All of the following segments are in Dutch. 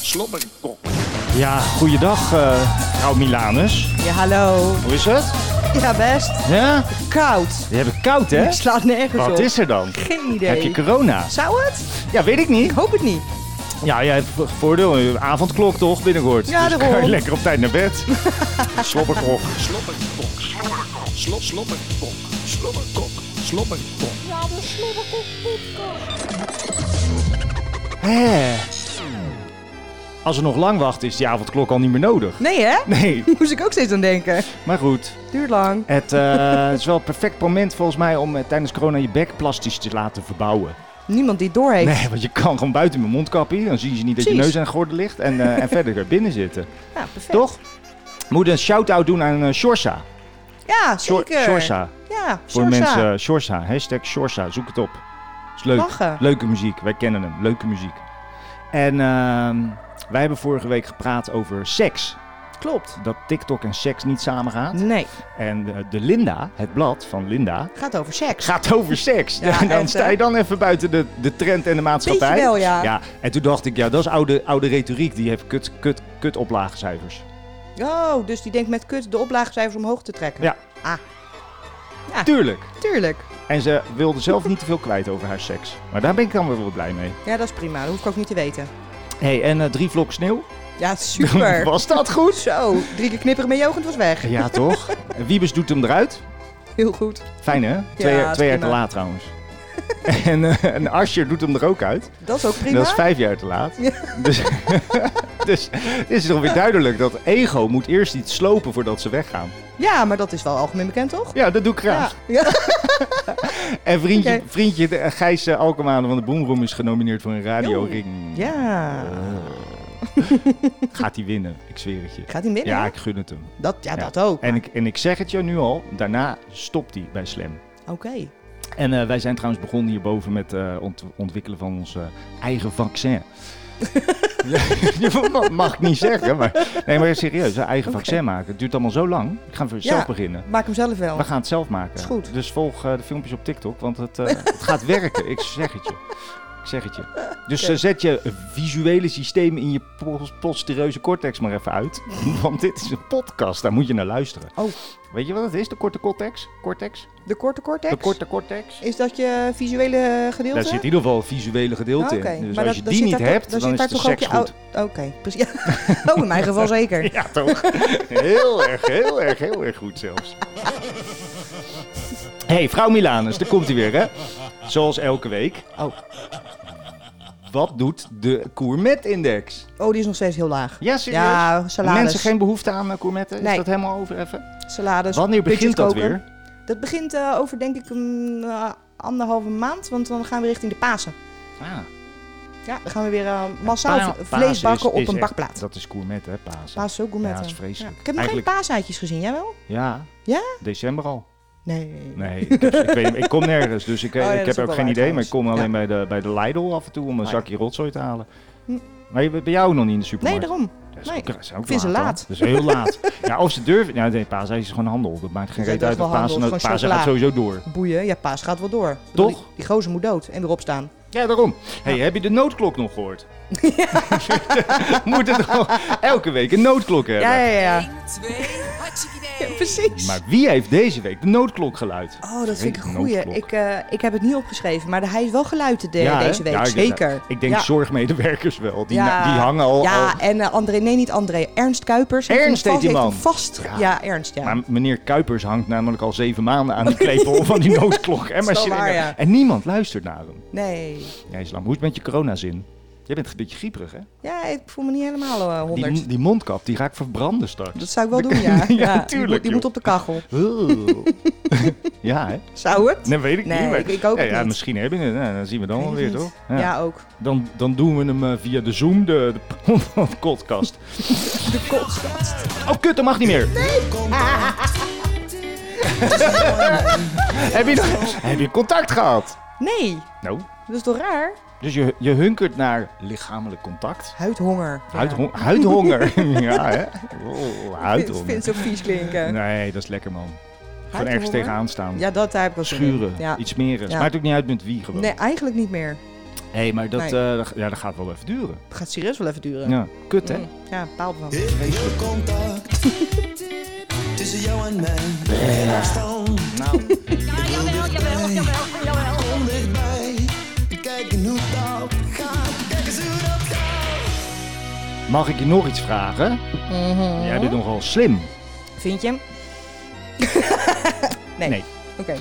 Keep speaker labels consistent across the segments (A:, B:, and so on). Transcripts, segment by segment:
A: Slobberkok.
B: Ja, goeiedag, eh vrouw Milanus.
C: Ja, hallo.
B: Hoe is het?
C: Ja, best.
B: Ja?
C: Koud.
B: Je hebt het koud, hè?
C: Ik slaat nergens op.
B: Wat Oh, is er dan?
C: Geen idee.
B: Heb je corona?
C: Zou het?
B: Ja, weet ik niet.
C: Ik hoop het niet.
B: Ja, jij hebt voordeel. eh, Avondklok toch binnenkort?
C: Ja,
B: dus
C: daarom.
B: kan je lekker op tijd naar bed. Slobberkok.
A: Slobberkok. Slobberkok. Slop, slobberkok. Slobberkok. Slobberkok.
B: Hè. Als er nog lang wacht, is die avondklok al niet meer nodig.
C: Nee, hè?
B: Nee,
C: Moest ik ook steeds aan denken.
B: maar goed.
C: Duurt lang.
B: Het eh, is wel het perfect moment volgens mij om eh, tijdens corona je bek plastisch te laten verbouwen.
C: Niemand die het doorheeft.
B: Nee, want je kan gewoon buiten mijn mondkapje. Dan zien ze niet dat je
C: Precies.
B: neus aan de gordel ligt. En, eh, en verder weer binnen zitten.
C: Ja, perfect.
B: Toch? Moet een shout-out doen aan eh Shorsa.
C: Ja,
B: Shor-
C: zeker.
B: Shorsa.
C: Ja,
B: Voor de
C: Shorsa.
B: mensen, eh, Shorsa. Hashtag Shorsa. Zoek het op. Is leuk.
C: Lachen.
B: Leuke muziek. Wij kennen hem. Leuke muziek. En ehm, wij hebben vorige week gepraat over seks.
C: Klopt.
B: Dat TikTok en seks niet samengaat.
C: Nee,
B: En eh, de Linda, het blad van Linda,
C: het gaat over seks.
B: gaat over seks.
C: Ja,
B: en dan
C: echt,
B: sta
C: hè?
B: je dan even buiten de, de trend en de maatschappij.
C: Beetje wel, ja.
B: En toen dacht ik, ja, dat is oude, oude retoriek. Die heeft kut, kut, kut oplagecijfers.
C: Oh, dus die denkt met kut de oplagecijfers omhoog te trekken.
B: Ja.
C: Ah. Ja.
B: Tuurlijk.
C: Tuurlijk.
B: En ze wilde zelf niet te veel kwijt over haar seks. Maar daar ben ik dan weer wel blij mee.
C: Ja, dat is prima. Dat hoef ik ook niet te weten.
B: hey, en eh, drie vlok sneeuw.
C: Ja, super.
B: Was dat goed?
C: Zo, drie keer knipperen met Jogend was weg.
B: Ja, toch? Wiebes doet hem eruit.
C: Heel goed.
B: Fijn, hè? Twee,
C: Ja,
B: jaar- twee jaar te
C: prima.
B: laat, trouwens. en, eh, en Ascher doet hem er ook uit.
C: Dat is ook prima.
B: Dat is vijf jaar te laat.
C: Ja.
B: Dus, dus het is toch weer duidelijk dat ego moet eerst iets slopen voordat ze weggaan.
C: Ja, maar dat is wel algemeen bekend, toch?
B: Ja, dat doe ik graag.
C: Ja. Ja.
B: En vriendje,
C: Oké.
B: vriendje de- Gijs eh, Alkemade van de Boomroom is genomineerd voor een radioring. Oh.
C: Ja.
B: Gaat hij winnen, ik zweer het je.
C: Gaat hij winnen?
B: Ja, ik gun het hem.
C: Dat, ja,
B: Ja.
C: dat ook.
B: En ik, en ik zeg het je nu al, daarna stopt hij bij Slam.
C: Oké.
B: En eh, wij zijn trouwens begonnen hierboven met het ontwikkelen van ons eh, eigen vaccin. Ja, dat mag ik niet zeggen, maar... Nee, maar serieus, een eigen
C: Oké.
B: vaccin maken. Het duurt allemaal zo lang. Ik ga voor
C: Ja.
B: zelf beginnen.
C: Maak hem zelf wel.
B: We gaan het zelf maken.
C: Is goed.
B: Dus volg eh, de filmpjes op TikTok, want het, eh, het gaat werken. Ik zeg het je. Ik zeg het je. Dus eh, zet je visuele systeem in je pos- posterieuze cortex maar even uit. Want dit is een podcast, daar moet je naar luisteren.
C: Oh.
B: Weet je wat het is, de korte cortex? Cortex?
C: De korte cortex?
B: De korte cortex?
C: Is dat je visuele eh, gedeelte?
B: Daar zit in ieder geval het visuele
C: Ah,
B: gedeelte
C: oké.
B: in. Dus
C: Maar dat-
B: als je
C: dan zit
B: die niet
C: daar toch-
B: hebt,
C: dan
B: dan
C: zit
B: is
C: daar
B: de
C: toch ook
B: seks
C: je
B: goed.
C: ou- Oké, precies. oh, in mijn geval zeker.
B: Ja, toch? Heel erg, heel erg, heel erg goed zelfs. Hé, hey, vrouw Milanus, daar komt hij weer, hè? Zoals elke week.
C: Oh.
B: Wat doet de Courmet-index?
C: oh, die is nog steeds heel laag.
B: Ja, serieus?
C: Ja, salades.
B: Mensen geen behoefte aan eh, courmetten? Is
C: Nee.
B: dat helemaal over even?
C: Salades.
B: Wanneer begint dat
C: budgetkoker.
B: weer?
C: Dat begint eh, over denk ik een eh, anderhalve maand, want dan gaan we richting de Pasen.
B: Ah,
C: Ja, dan gaan we weer eh, massaal
B: pa-
C: v-
B: Pasen
C: vlees
B: is-
C: bakken op
B: is
C: een
B: echt-
C: bakplaat.
B: Dat is gourmet, hè, Pasen?
C: Pasen ook, gourmetten.
B: Ja, dat is vreselijk.
C: Ik heb nog
B: Eigenlijk-
C: geen paaseitjes gezien, jij wel?
B: Ja.
C: Ja?
B: December al.
C: Nee.
B: Nee, ik, heb- ik, weet, ik kom nergens, dus ik,
C: Oh ja,
B: ik
C: dat
B: heb
C: is ook
B: ook
C: wel
B: geen
C: waar
B: idee. Maar ik kom alleen
C: Ja.
B: bij, de, bij de Lidl af en toe om een
C: Oh ja.
B: zakje rotzooi te halen.
C: Hm.
B: Maar je bent bij jou nog niet in de
C: Nee,
B: supermarkt?
C: daarom.
B: Dat
C: Nee,
B: ook- dat ook
C: ik vind ze laat.
B: hoor. Dat is heel laat. ja, of ze durven... Nou, nee, Pasen is gewoon handel. Dat maakt geen
C: Ja,
B: reet
C: dat
B: uit.
C: is wel
B: want Pasen,
C: handel, gewoon
B: Pasen gaat
C: chocola.
B: sowieso door.
C: Boeien, ja, paas gaat wel door. Ik bedoel,
B: Toch?
C: Die, die gozer moet dood en weer opstaan.
B: Ja, daarom. hey, heb je de noodklok nog gehoord? Moet het gewoon elke week een noodklok hebben?
C: ja, ja.
D: 1, 2, hartstikke idee.
C: precies.
B: Maar wie heeft deze week de noodklok geluid?
C: Oh, dat vind ik een
B: Geen
C: goeie.
B: noodklok.
C: Ik, eh, ik heb het niet opgeschreven, maar hij is wel geluid de,
B: Ja, hè?
C: deze week.
B: Ja, ik denk-
C: zeker.
B: Ik denk
C: Ja.
B: zorgmedewerkers wel. Die,
C: Ja.
B: na- die hangen al... al-
C: Ja, en eh, André, nee niet André, Ernst Kuipers. heeft
B: Ernst
C: hem
B: heet die
C: vast-
B: man.
C: heeft hem Vast,
B: Ja.
C: ja. Ernst, ja.
B: Maar meneer Kuipers hangt namelijk al zeven maanden aan die klepel van die noodklok. En,
C: is wel
B: zit-
C: waar, ja.
B: en niemand luistert naar hem.
C: Nee.
B: Ja, Islam, hoe is het met je coronazin? Jij bent een beetje grieperig, hè?
C: Ja, ik voel me niet helemaal eh,
B: Die,
C: 100.
B: mo- die mondkap, die ga ik verbranden straks.
C: Dat zou ik wel doen, ja.
B: Ja,
C: die,
B: tuurlijk,
C: moet, die
B: joh.
C: moet op de kachel.
B: Oeh. ja, hè?
C: Zou het?
B: Nee, weet ik
C: Nee,
B: niet. maar-
C: ik- ik ook
B: ja,
C: het
B: ja,
C: niet.
B: Misschien hebben we het. Nou, dan zien we dan
C: Ik
B: wel
C: weet
B: weer,
C: het
B: toch?
C: Ja, ook.
B: Dan, dan doen we hem eh, via de Zoom, de, de podcast.
C: De kotsgast.
B: Oh, kut, dat mag niet meer. heb, je, nog- heb je contact gehad?
C: Nee,
B: Nou,
C: dat is toch raar?
B: dus je, je hunkert naar lichamelijk contact.
C: Huidhonger. Ja.
B: Huidhon- huidhonger. ja, hè?
C: Ik
B: Oh,
C: vind-
B: huidhonger.
C: vind het zo vies klinken.
B: Nee, dat is lekker, man. Gewoon ergens
C: hoor.
B: tegenaan staan.
C: Ja, dat daar heb ik wel zin in.
B: Schuren,
C: Ja.
B: iets merigs.
C: Ja.
B: Maakt ook niet uit met wie gewoon.
C: Nee, eigenlijk niet meer.
B: Hé, maar dat,
C: Nee.
B: eh, dat- ja, dat gaat wel even duren.
C: Het gaat serieus wel even duren.
B: Ja, kut hè?
C: Mm, Ja, paal van.
E: Ik wil contact tussen jou en mij. Ja. Afstand,
B: Nou,
F: Jawel, jawel, jawel, jawel.
E: kom dichtbij. Kijk hoe dat gaat. Kijk eens hoe dat gaat.
B: mag ik je nog iets vragen?
C: Mhm.
B: Jij bent nogal slim.
C: Vind je hem? nee.
B: Nee.
C: Oké.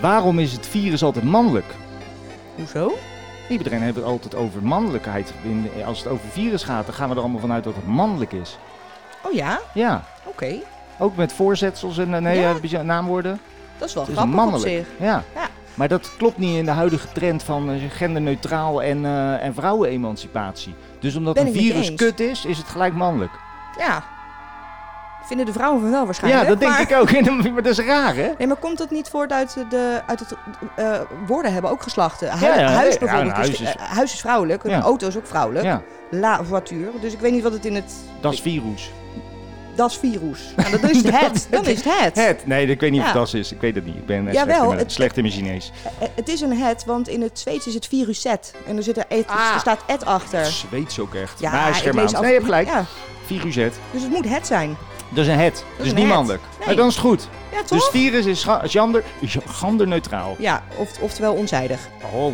B: Waarom is het virus altijd mannelijk?
C: Hoezo?
B: Iedereen heeft het altijd over mannelijkheid. In- Als het over virus gaat, dan gaan we er allemaal vanuit dat het mannelijk is.
C: Oh ja,
B: Ja,
C: oké.
B: ook met voorzetsels en eh, nee,
C: Ja.
B: eh, beetje naamwoorden.
C: Dat is wel
B: Het is
C: grappig op
B: mannelijk.
C: zich.
B: Ja.
C: Ja.
B: Maar dat klopt niet in de huidige trend van eh, genderneutraal en, eh en vrouwenemancipatie. Dus omdat
C: Ben
B: een
C: ik niet
B: virus
C: eens.
B: kut is, is het gelijk mannelijk.
C: Ja. Vinden de vrouwen van wel waarschijnlijk.
B: Ja, dat denk
C: maar-
B: ik ook. maar dat is raar, hè?
C: Nee, maar komt dat niet voort uit, de, uit het... eh, woorden hebben ook geslachten. Hu-
B: ja, nee.
C: huis
B: Ja,
C: bijvoorbeeld.
B: een huis
C: is,
B: is-
C: eh, huis is vrouwelijk.
B: Ja.
C: Een auto is ook vrouwelijk.
B: Ja,
C: La voiture. Dus ik weet niet wat het in het...
B: dat is virus.
C: Dat is virus. Nou, dan is het het. Dan is het het.
B: Het? Nee, ik weet niet of
C: Ja.
B: dat is. Ik weet het niet. Ik ben echt
C: Jawel,
B: slecht, in mijn,
C: het-
B: slecht in mijn Chinees.
C: Eh, Het is een het, want in het Zweeds is het viruset. En er, zit er, et,
B: Ah.
C: er staat et achter.
B: Zweeds ook echt.
C: Ja,
B: maar hij is
C: ik
B: Germaans.
C: lees af-
B: Nee, je hebt gelijk.
C: Ja,
B: Virus het.
C: dus het moet het zijn.
B: Dat is een het. Dus
C: een
B: niet
C: het.
B: mannelijk.
C: Nee.
B: Maar dan is het goed.
C: Ja, toch?
B: Dus virus is scha- gender, genderneutraal.
C: Ja, of, oftewel onzijdig.
B: Oh.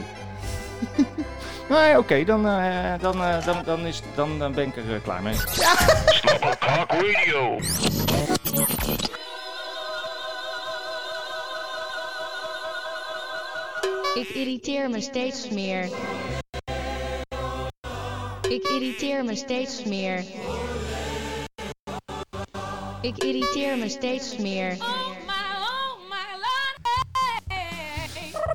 B: nee, oké. dan, eh, dan, eh, dan, dan, is, dan, dan ben ik er eh, klaar mee.
F: Ik irriteer me steeds meer. Ik irriteer me steeds meer. Ik irriteer me steeds meer.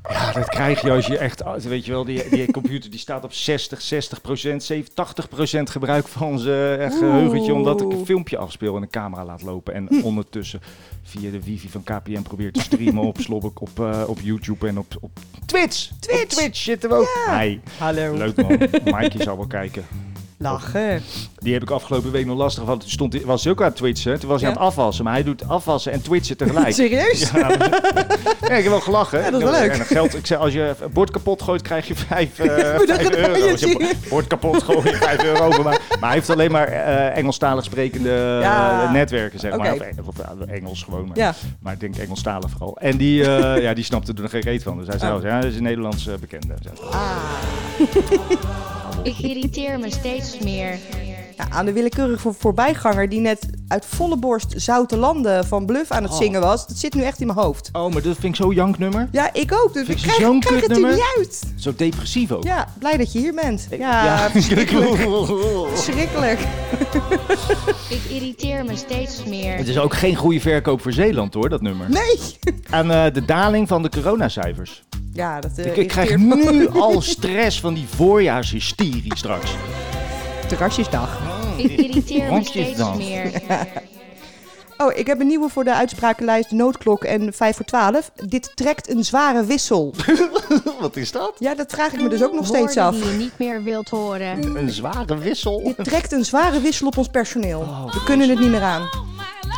B: Ja, dat krijg je als je echt... Weet je wel, die, die computer die staat op 60, 60 procent, 80 procent gebruik van zijn eh, geheugentje. Omdat ik een
C: Oeh. Hm.
B: filmpje afspeel en een camera laat lopen. En ondertussen via de wifi van KPN probeer te streamen op Slobbek, op, eh, op YouTube en op, op Twitch. Op
C: Twitch.
B: Twitch zitten we ook. Hi.
C: Hallo.
B: Leuk man. Mike zal wel kijken.
C: Lachen.
B: Die heb ik afgelopen week nog lastig gehad. Toen stond, hij- was hij ook aan het twitchen. Toen was hij
C: Ja.
B: aan het afwassen. Maar hij doet afwassen en twitchen tegelijk.
C: Serieus?
B: Ja, ja, ik heb wel gelachen.
C: Ja, dat is wel leuk.
B: En dat geld, ik zei, als je een bord kapot gooit, krijg je 5 euro.
C: je
B: Als je een
C: zien.
B: bord kapot gooit, 5 euro. Maar, maar hij heeft alleen maar eh, Engelstalig sprekende
C: Ja.
B: eh, netwerken, zeg maar.
C: Oké.
B: Of, of, eh, Engels gewoon. Maar,
C: Ja.
B: maar ik denk Engelstalig vooral. En die, eh, ja, die snapte er nog geen reet van. Dus hij zei,
C: Oh.
B: ja, dat is een Nederlands eh, bekende. Zei,
F: Ik irriteer me steeds meer.
C: Ja, aan de willekeurige voor- voorbijganger die net uit volle borst Zoute Landen van Bluff aan het zingen was. Dat zit nu echt in mijn hoofd.
B: Oh, maar dat vind ik zo'n janknummer.
C: Ja, ik ook. Dus
B: Vind
C: ik
B: je
C: krijg,
B: zo'n
C: krijg het er
B: kutnummer?
C: niet uit.
B: Zo depressief ook.
C: Ja, blij dat je hier bent. Ja, verschrikkelijk.
F: Ik irriteer me steeds
B: Het
F: meer.
B: is ook geen goede verkoop voor Zeeland hoor, dat nummer.
C: Nee.
B: Aan eh, de daling van de coronacijfers.
C: Ja, dat eh,
B: Ik, ik krijg
C: irriteert me.
B: nu al stress van die voorjaarshysterie straks.
C: Terrasjesdag.
F: Ik irriteer me
B: Hondjes
F: steeds
B: dan.
F: meer.
C: Oh, ik heb een nieuwe voor de uitsprakenlijst Noodklok en 5 voor 12. Dit trekt een zware wissel.
B: Wat is dat?
C: Ja, dat vraag ik me dus ook nog steeds
F: Woorden
C: af.
F: die je niet meer wilt horen.
B: Een zware wissel.
C: Dit trekt een zware wissel op ons personeel.
B: Oh,
C: We kunnen het niet meer aan.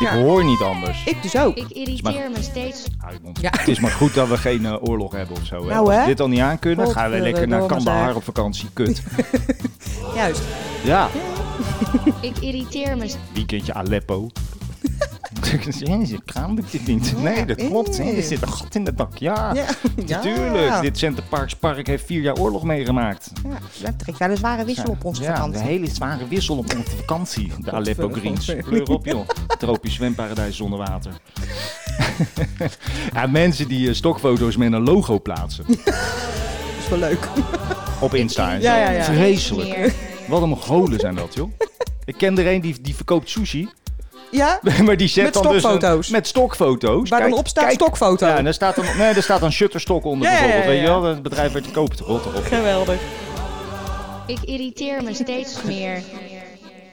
B: Ik hoor niet anders.
C: Ik dus ook.
F: Ik irriteer me steeds.
B: Uitmond. Het is maar goed dat we geen eh, oorlog hebben of zo. hè.
C: Nou,
B: Als we
C: hè?
B: dit al niet aan kunnen, gaan we
C: Godverdomme,
B: lekker naar Kandahar
C: zeg.
B: op vakantie. Kut.
C: Juist.
B: Ja,
F: Ik irriteer me.
B: weekendje Aleppo. Ja, dit kraan doet dit niet. Nee, dat klopt. hè. Er zit een gat in het dak. Ja,
C: Ja. Ja.
B: natuurlijk. Dit Centerparkspark heeft vier jaar oorlog meegemaakt.
C: Ja, dat trekt wel een zware wissel op ons
B: ja,
C: vakantie.
B: een hele zware wissel op onze vakantie. De Aleppo Greens. Kleur op, joh. Tropisch zwemparadijs zonder water. ja, mensen die eh, stokfoto's met een logo plaatsen
C: Dat is wel leuk.
B: op Insta en zo.
C: Ja, ja, ja.
B: Vreselijk.
F: Meer.
B: Wat een mogolen zijn dat, joh. Ik ken er een die, die verkoopt sushi,
C: Ja?
B: maar die zet
C: Met
B: dan dus
C: stokfoto's.
B: een, met stokfoto's.
C: Waar dan
B: Kijk,
C: op staat
B: kijk.
C: stokfoto.
B: Ja, en daar staat dan, nee, daar staat dan shutterstock onder
C: Ja, ja, ja,
B: bijvoorbeeld. Weet
C: ja.
B: je wel, het bedrijf uit de koop, rot erop.
C: Geweldig.
F: Ik irriteer me steeds meer.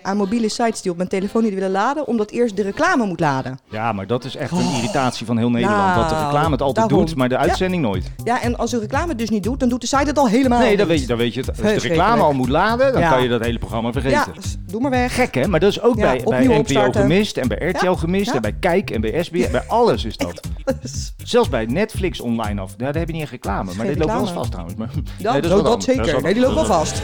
C: aan mobiele sites die op mijn telefoon niet willen laden, omdat eerst de reclame moet laden.
B: Ja, maar dat is echt een irritatie van heel Nederland. dat de
C: Oh. Nou,
B: reclame het altijd
C: daarom.
B: doet, maar de
C: Ja.
B: uitzending nooit.
C: Ja, en als de reclame het dus niet doet, dan doet de site het al helemaal
B: Nee,
C: niet.
B: dan weet, je, dan weet je het. Als je de reclame
C: Verschrikkelijk.
B: al moet laden, dan
C: Ja.
B: kan je dat hele programma
C: Ja,
B: vergeten.
C: dus doe maar weg.
B: Gek hè, maar dat is ook
C: Ja,
B: bij, bij
C: opnieuw
B: NPO
C: opstarten.
B: gemist en bij RTL
C: Ja,
B: gemist
C: ja.
B: en bij Kijk en bij SBN. Bij alles is dat.
C: Dus-
B: Zelfs bij Netflix online af. Nou, daar heb je niet echt reclame, maar
C: geen
B: dit loopt wel eens
C: reclame.
B: vast trouwens. Maar,
C: Dat,
B: Nee,
C: Oh, dat,
B: is wat
C: dat
B: anders.
C: zeker.
B: is wat
C: nee, die loopt wel vast.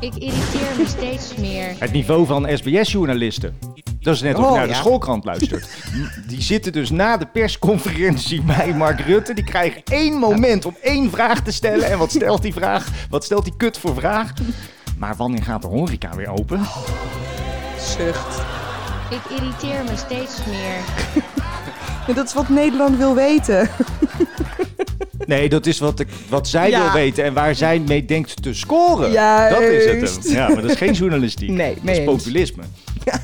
F: Ik irriteer me steeds meer.
B: Het niveau van SBS-journalisten. Dat is net of je
C: Oh,
B: naar de
C: ja.
B: schoolkrant luistert. M- die zitten dus na de persconferentie bij Mark Rutte. Die krijgen één moment om één vraag te stellen. En wat stelt die vraag? Wat stelt die kut voor vraag? Maar wanneer gaat de horeca weer open?
C: Zucht.
F: Ik irriteer me steeds meer.
C: Ja, dat is wat Nederland wil weten.
B: Nee, dat is wat, ik, wat zij
C: Ja.
B: wil weten en waar zij mee denkt te scoren. Dat is het.
C: Juist.
B: hem. Ja, maar dat is geen journalistiek.
C: Nee,
B: dat is
C: mee eens.
B: populisme. Ja,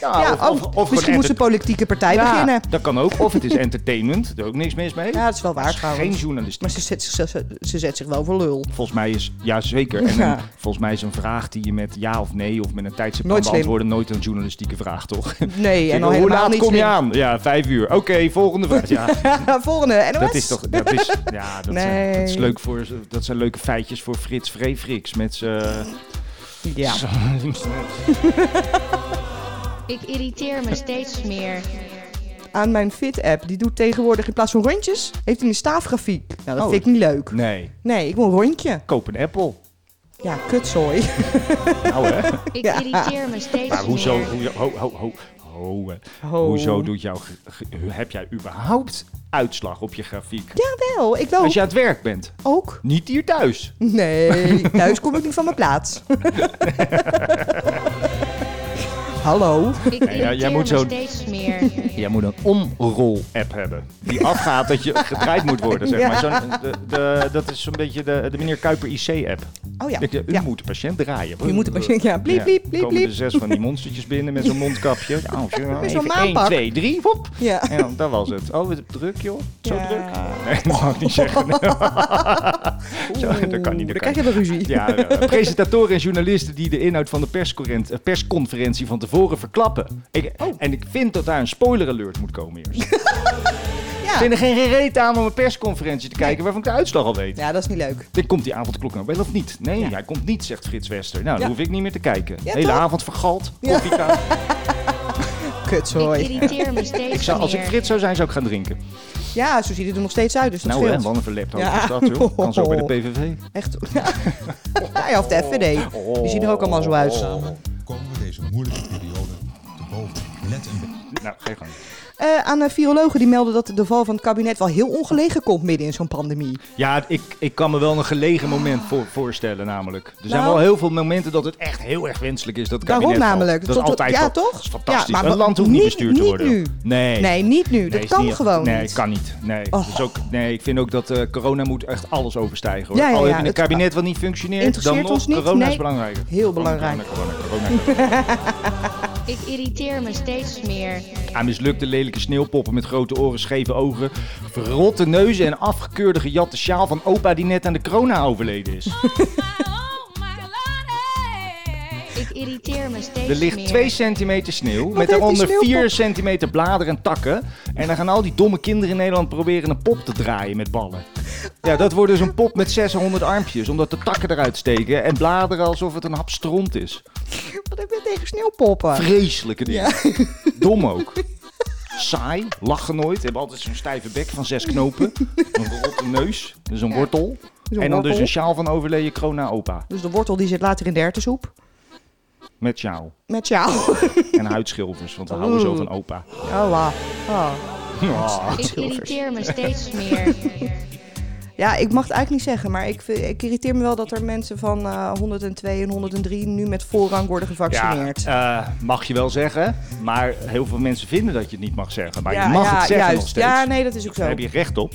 C: ja,
B: Ah, of- of- of
C: oh,
B: gewoon
C: misschien moest
B: enter-
C: een politieke partij
B: Ja,
C: beginnen.
B: dat kan ook. Of het is entertainment. Daar is ook niks mis mee.
C: Ja, dat is wel
B: Dat
C: waar
B: is
C: trouwens.
B: geen journalistiek.
C: Maar ze zet, zich- ze, ze zet zich wel voor lul.
B: Volgens mij is, ja zeker. En
C: Ja.
B: een- volgens mij is een vraag die je met ja of nee of met een tijdstip kan
C: Nooit slim.
B: beantwoorden nooit een journalistieke vraag, toch?
C: Nee, en al
B: Hoe
C: helemaal
B: laat
C: niet
B: kom je
C: slim.
B: aan? Ja, vijf uur. Oké, volgende vraag. Ja,
C: Volgende, NOS.
B: dat is toch, dat is, ja, dat, zijn,
C: Nee.
B: dat is leuk voor, dat zijn leuke feitjes voor Frits Vreefriks met zijn...
C: Ja.
F: Ik irriteer me steeds meer.
C: Aan mijn Fit-app. Die doet tegenwoordig in plaats van rondjes, heeft hij een staafgrafiek. Nou, dat
B: Oh.
C: vind ik niet leuk.
B: Nee,
C: Nee, ik wil een rondje.
B: koop een Apple.
C: Ja, kutzooi.
B: Nou hè.
F: Ik
C: Ja.
F: irriteer me steeds
B: Maar hoezo,
F: meer.
B: hoezo, ho, ho, ho, ho, hè.
C: Ho.
B: hoezo doet jouw, ge- ge- heb jij überhaupt uitslag op je grafiek?
C: Jawel, ik wel.
B: Als je aan het werk bent,
C: Ook?
B: niet hier thuis.
C: Nee, thuis kom ik niet van mijn plaats. Hallo.
F: Ik irriteer
B: ja, jij moet
F: me
B: zo'n-
F: steeds meer.
B: Jij moet een omrol-app hebben. Die afgaat dat je gedraaid moet worden, zeg maar. Zo'n- de, de, dat is zo'n beetje de, de meneer Kuiper IC-app.
C: Oh ja.
B: Dat je, u
C: ja.
B: moet de patiënt draaien.
C: Je moet een patiënt, ja, bliep, bliep, bliep,
B: Er komen er
C: bliep.
B: zes van die monstertjes binnen met zo'n mondkapje. Nou, zo,
C: zo'n
B: even één,
C: maanpak.
B: twee, drie, hop.
C: Ja.
B: En dan, dat was het. Oh, wat druk, joh. Zo
C: Ja.
B: druk. Nee, dat mag ik niet zeggen. Zo, dat kan
C: Dan krijg
B: niet. Dat kan
C: je
B: niet.
C: wel ruzie.
B: Ja, eh, presentatoren en journalisten die de inhoud van de perscorrent- eh, persconferentie van tevoren verklappen. Ik,
C: Oh.
B: En ik vind dat daar een spoiler alert moet komen eerst. Ik
C: Ja.
B: vind er geen reet aan om een persconferentie te kijken waarvan ik de uitslag al weet.
C: Ja, dat is niet leuk.
B: Dan komt die avondklok nou wel of niet? Nee,
C: Ja.
B: hij komt niet, zegt Frits Wester. Nou, dan
C: Ja.
B: hoef ik niet meer te kijken.
C: Ja,
B: Hele
C: toch?
B: avond vergald,
C: Ja.
B: koffie koud.
F: Ik
C: Kutzooi.
F: irriteer me steeds
B: Ik zou, als
F: meer.
B: ik Frits zou zijn, zou ik gaan drinken.
C: Ja, zo ziet het er nog steeds uit, dus dat
B: nou hè,
C: scheelt.
B: wat een verlept
C: Ja.
B: ja. dat, joh. Kan zo bij de PVV.
C: Echt. Ja, ja of de FVD.
B: Oh.
C: Die zien er ook allemaal zo uit.
G: komen we deze moeilijke periode te boven. Let een beetje.
B: Nou, geen gang.
C: Eh, aan eh, virologen die melden dat de val van het kabinet wel heel ongelegen komt midden in zo'n pandemie.
B: Ja, ik, ik kan me wel een gelegen moment voor, voorstellen namelijk. Er zijn
C: Nou.
B: wel heel veel momenten dat het echt heel erg wenselijk is dat het kabinet
C: Daarom
B: valt.
C: namelijk.
B: Dat is
C: Tot-
B: altijd
C: ja,
B: wel-
C: toch?
B: Dat is fantastisch.
C: Ja, maar
B: een land hoeft niet
C: niet-
B: bestuurd te
C: niet
B: worden.
C: nu.
B: Nee.
C: Nee, niet nu.
B: Nee,
C: dat
B: is
C: kan
B: niet-
C: gewoon
B: nee,
C: niet.
B: kan niet. Nee,
C: Oh.
B: Dus ook, nee, ik vind ook dat eh, corona moet echt alles overstijgen. Hoor.
C: Ja, ja,
B: Al heb
C: ja,
B: je een
C: het-
B: kabinet wat niet functioneert, dan
C: interesseert
B: nog,
C: ons niet.
B: corona is
C: Nee.
B: belangrijker.
C: Heel
B: Corona,
C: belangrijk.
B: Corona, corona, corona, corona.
F: Ik irriteer me steeds meer.
B: Aan mislukte lelijke sneeuwpoppen met grote oren, scheve ogen, verrotte neuzen en afgekeurde gejatte sjaal van opa die net aan de corona overleden is.
F: Ik irriteer me steeds meer.
B: Er ligt 2 centimeter sneeuw, met
C: heeft die
B: daaronder 4
C: sneeuwpop?
B: centimeter bladeren en takken. En dan gaan al die domme kinderen in Nederland proberen een pop te draaien met ballen. Ja, dat wordt dus een pop met 600 armpjes, omdat de takken eruit steken en bladeren alsof het een hap stront is.
C: Wat heb je tegen sneeuwpoppen?
B: Vreselijke dingen. Dom ook. Saai, lachen nooit, hebben altijd zo'n stijve bek van zes knopen. Een rotte neus, dus een wortel.
C: is een
B: en dan dus
C: wortel.
B: een sjaal van overleden corona-opa.
C: Dus de wortel die zit later in de hertensoep.
B: Met sjaal.
C: Met jou.
B: En huidschilvers, want we houden zo van opa.
C: Oh, wauw. Oh.
B: Ah.
F: Ik irriteer me steeds meer.
C: Ja, ik mag het eigenlijk niet zeggen, maar ik, vind- ik irriteer me wel dat er mensen van eh, 102 en 103 nu met voorrang worden
B: Ja,
C: gevaccineerd.
B: eh, mag je wel zeggen, maar heel veel mensen vinden dat je het niet mag zeggen. Maar
C: Ja,
B: je mag
C: ja,
B: het zeggen nog steeds.
C: Ja, nee, dat is ook zo.
B: Daar heb je recht op.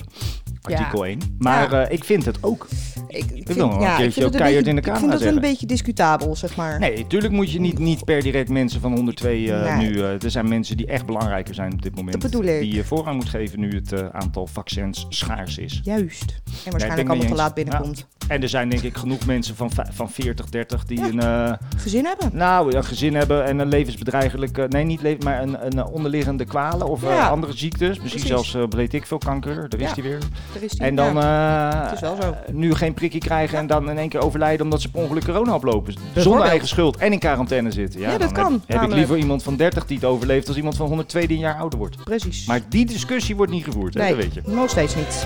B: Artikel
C: Ja.
B: 1. Maar
C: Ja.
B: eh, ik vind het ook.
C: Ik, ik
B: wil nog een keertje
C: ik vind
B: ook
C: het een
B: keihard
C: beetje-
B: in de
C: Ik
B: camera
C: vind dat
B: zeggen.
C: een beetje discutabel, zeg maar.
B: Nee, natuurlijk moet je niet, niet per direct mensen van 102 eh,
C: Nee.
B: nu. eh, er zijn mensen die echt belangrijker zijn op dit moment.
C: Dat bedoel ik.
B: Die je voorrang moet geven nu het eh, aantal vaccins schaars is.
C: Juist. En
B: ik ben
C: waarschijnlijk
B: mee
C: allemaal te
B: eens.
C: laat binnenkomt.
B: En er zijn denk ik genoeg mensen van, vij- van 40, 30 die een, eh,
C: Gezin hebben.
B: nou, een gezin hebben en een levensbedreigelijke... Nee, niet leven, maar een, een eh, onderliggende kwalen of eh,
C: Ja.
B: andere ziektes. Misschien
C: Precies.
B: zelfs, eh weet ik veel, kanker. Daar is
C: Ja.
B: die weer.
C: Er is die,
B: En dan
C: ja.
B: eh,
C: Het is wel zo.
B: nu geen prikkie krijgen en dan in één keer overlijden omdat ze per ongeluk corona oplopen. Zonder
C: Bijvoorbeeld.
B: eigen schuld en in quarantaine zitten. Ja,
C: Ja, dat
B: dan
C: kan,
B: Heb, heb ik
C: namelijk.
B: liever iemand van 30 die het overleeft als iemand van 102 die een jaar ouder wordt.
C: Precies.
B: Maar die discussie wordt niet gevoerd, hè,
C: nee,
B: dat weet je.
C: nog steeds niet.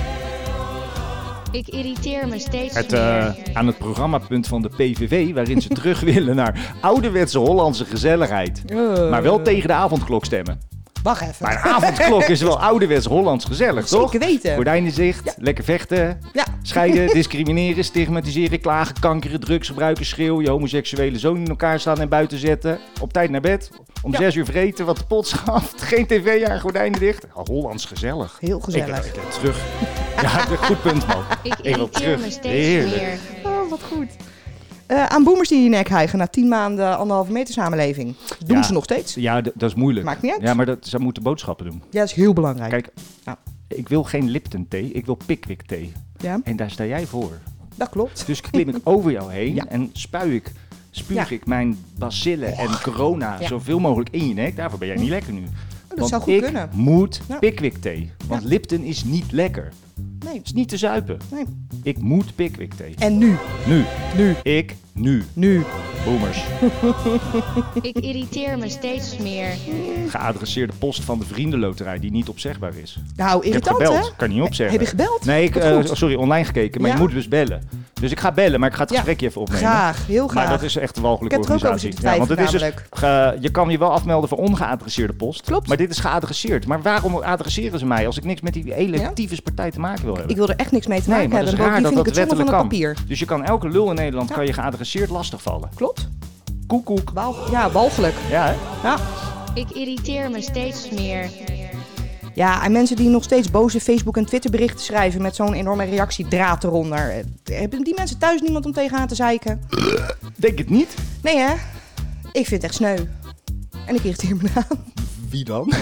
F: Ik irriteer me steeds
B: Het, eh,
F: meer.
B: aan het programmapunt van de PVV, waarin ze terug willen naar ouderwetse Hollandse gezelligheid.
C: Eh,
B: Maar wel tegen de avondklok stemmen.
C: Wacht even.
B: Maar de avondklok is wel ouderwets Hollands gezellig,
C: Zeker
B: toch?
C: weten.
B: Gordijnen dicht, lekker vechten,
C: Ja.
B: scheiden, discrimineren, stigmatiseren, klagen, kankeren, drugsgebruikers, schreeuwen, je homoseksuele zoon in elkaar slaan en buiten zetten, op tijd naar bed, om zes uur vreten, wat de pot schaft, geen tv aan, gordijnen dicht. Ja, Hollands gezellig.
C: Heel
B: Ik,
C: gezellig.
B: ik, terug. Ja, goed punt, man.
F: Ik
B: Ik wil
F: irriteer me
B: terug.
F: steeds
B: Heerlijk.
F: meer.
C: Oh, wat goed. Eh, aan boemers die je nek hijgen na tien maanden anderhalve meter samenleving. Doen
B: Ja.
C: ze nog steeds.
B: Ja, d- dat is moeilijk.
C: Maakt niet uit.
B: Ja, maar dat, ze moeten boodschappen doen.
C: Ja, dat is heel belangrijk.
B: Kijk,
C: Ja.
B: ik wil geen Lipton thee, ik wil Pickwick thee.
C: Ja,
B: En daar sta jij voor.
C: dat klopt.
B: Dus klim ik over jou heen
C: Ja.
B: en spui ik, spuug
C: Ja.
B: ik mijn bacillen en corona
C: Ja. Hm. Oh,
B: zoveel mogelijk in je nek. Daarvoor ben jij niet lekker nu.
C: dat
B: Want
C: zou goed
B: ik
C: kunnen.
B: moet
C: Ja.
B: Pickwick thee. Want Lipton is niet lekker. Het
C: Nee.
B: is niet te zuipen.
C: nee.
B: Ik moet Pickwick thee.
C: En nu?
B: Nu.
C: Nu.
B: Ik. Nu.
C: Nu. Nou,
B: Boomers.
F: Ik irriteer me steeds meer.
B: Geadresseerde post van de vriendenloterij die niet opzegbaar is.
C: Nou,
B: Ik heb
C: irritant
B: gebeld.
C: hè?
B: Kan niet opzeggen.
C: Heb je gebeld?
B: Nee, ik,
C: Wat
B: eh,
C: goed.
B: sorry, online gekeken. Maar
C: Ja?
B: je moet dus bellen. Dus ik ga bellen, maar ik ga het
C: Ja.
B: gesprekje even opnemen.
C: Graag, heel graag.
B: Maar dat is echt een walgelijke
C: Ik heb er ook over
B: organisatie.
C: zitten twijfelen,
B: want het is dus, ge- je kan je wel afmelden voor ongeadresseerde post.
C: Klopt.
B: Maar dit is geadresseerd. Maar waarom adresseren ze mij als ik niks met die hele
C: Ja?
B: tyfuspartij te maken wil hebben?
C: Ik wil er echt niks mee te
B: nee,
C: maken
B: maar dat
C: hebben.
B: is raar dat
C: Bovendien
B: dat
C: vind ik het zonde
B: wettelijk
C: van
B: kan.
C: het papier.
B: Dus je kan elke lul in Nederland
C: Ja.
B: kan je geadresseerd lastigvallen.
C: Klopt.
B: Koekoek.
C: Wal- ja, walgelijk.
B: Ja, hè?
C: Ja.
F: Ik irriteer me steeds meer.
C: ja, en mensen die nog steeds boze Facebook- en Twitterberichten schrijven... met zo'n enorme reactiedraad eronder. Eh, Hebben die mensen thuis niemand om tegenaan te zeiken?
B: Denk het niet.
C: Nee, hè? Ik vind het echt sneu. En ik irriteer me aan.
B: Wie dan?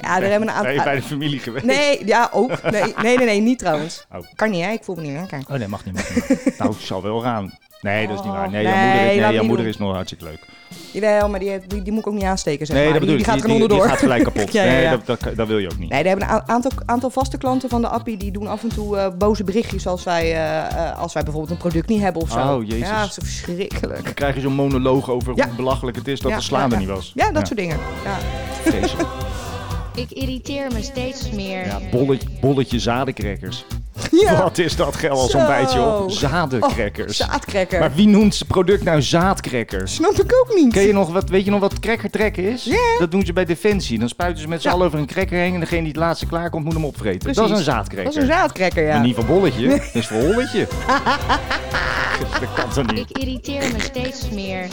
C: Ja, er hebben een
B: Ben je
C: aantal...
B: bij de familie geweest?
C: Nee, ja, ook. Nee, nee, nee, nee niet trouwens.
B: Oh.
C: Kan niet, hè? Ik voel me niet lekker.
B: Oh nee, mag niet. Mag niet. nou, ik zal wel gaan. Nee, dat is niet waar. Nee,
C: Nee, laat
B: jouw moeder, is- nee, jouw
C: niet
B: moeder
C: doen.
B: is nog hartstikke leuk.
C: Jawel, maar die, die, die moet ik ook niet aansteken, zeg
B: Nee,
C: maar.
B: dat bedoel
C: die,
B: ik.
C: die gaat er gewoon
B: die
C: onderdoor.
B: gaat gelijk kapot.
C: Ja, ja, ja.
B: Nee, dat, dat, dat wil je ook niet.
C: Nee, er hebben een a- aantal, aantal vaste klanten van de appie die doen af en toe eh, boze berichtjes als wij, eh, eh, als wij bijvoorbeeld een product niet hebben of zo.
B: Oh, jezus.
C: Ja, dat is verschrikkelijk.
B: Dan krijg je zo'n monoloog over
C: Ja.
B: hoe belachelijk het is dat
C: Ja,
B: de slaan
C: ja,
B: er
C: ja.
B: niet was.
C: Ja, dat soort dingen. Ja.
B: soort dingen.
F: Ik irriteer me steeds meer.
B: Ja, bolletje, bolletje zadencrackers.
C: ja.
B: Wat is dat geil als
C: Zo.
B: ontbijt, joh.
C: Oh,
B: Zadencrackers.
C: zaadcracker.
B: maar wie noemt zijn product nou zaadcrackers?
C: Snap ik ook niet.
B: Ken je nog wat, weet je nog wat cracker trekken is?
C: Ja.
B: Dat doen ze bij Defensie. Dan spuiten ze met z'n
C: Ja.
B: allen over een cracker heen en degene die het laatste klaar komt moet hem opvreten.
C: Precies.
B: Dat is een zaadcracker.
C: Dat is een zaadcracker, ja.
B: Maar niet van bolletje, dat is voor holletje. dat kan toch niet?
F: Ik irriteer me steeds meer.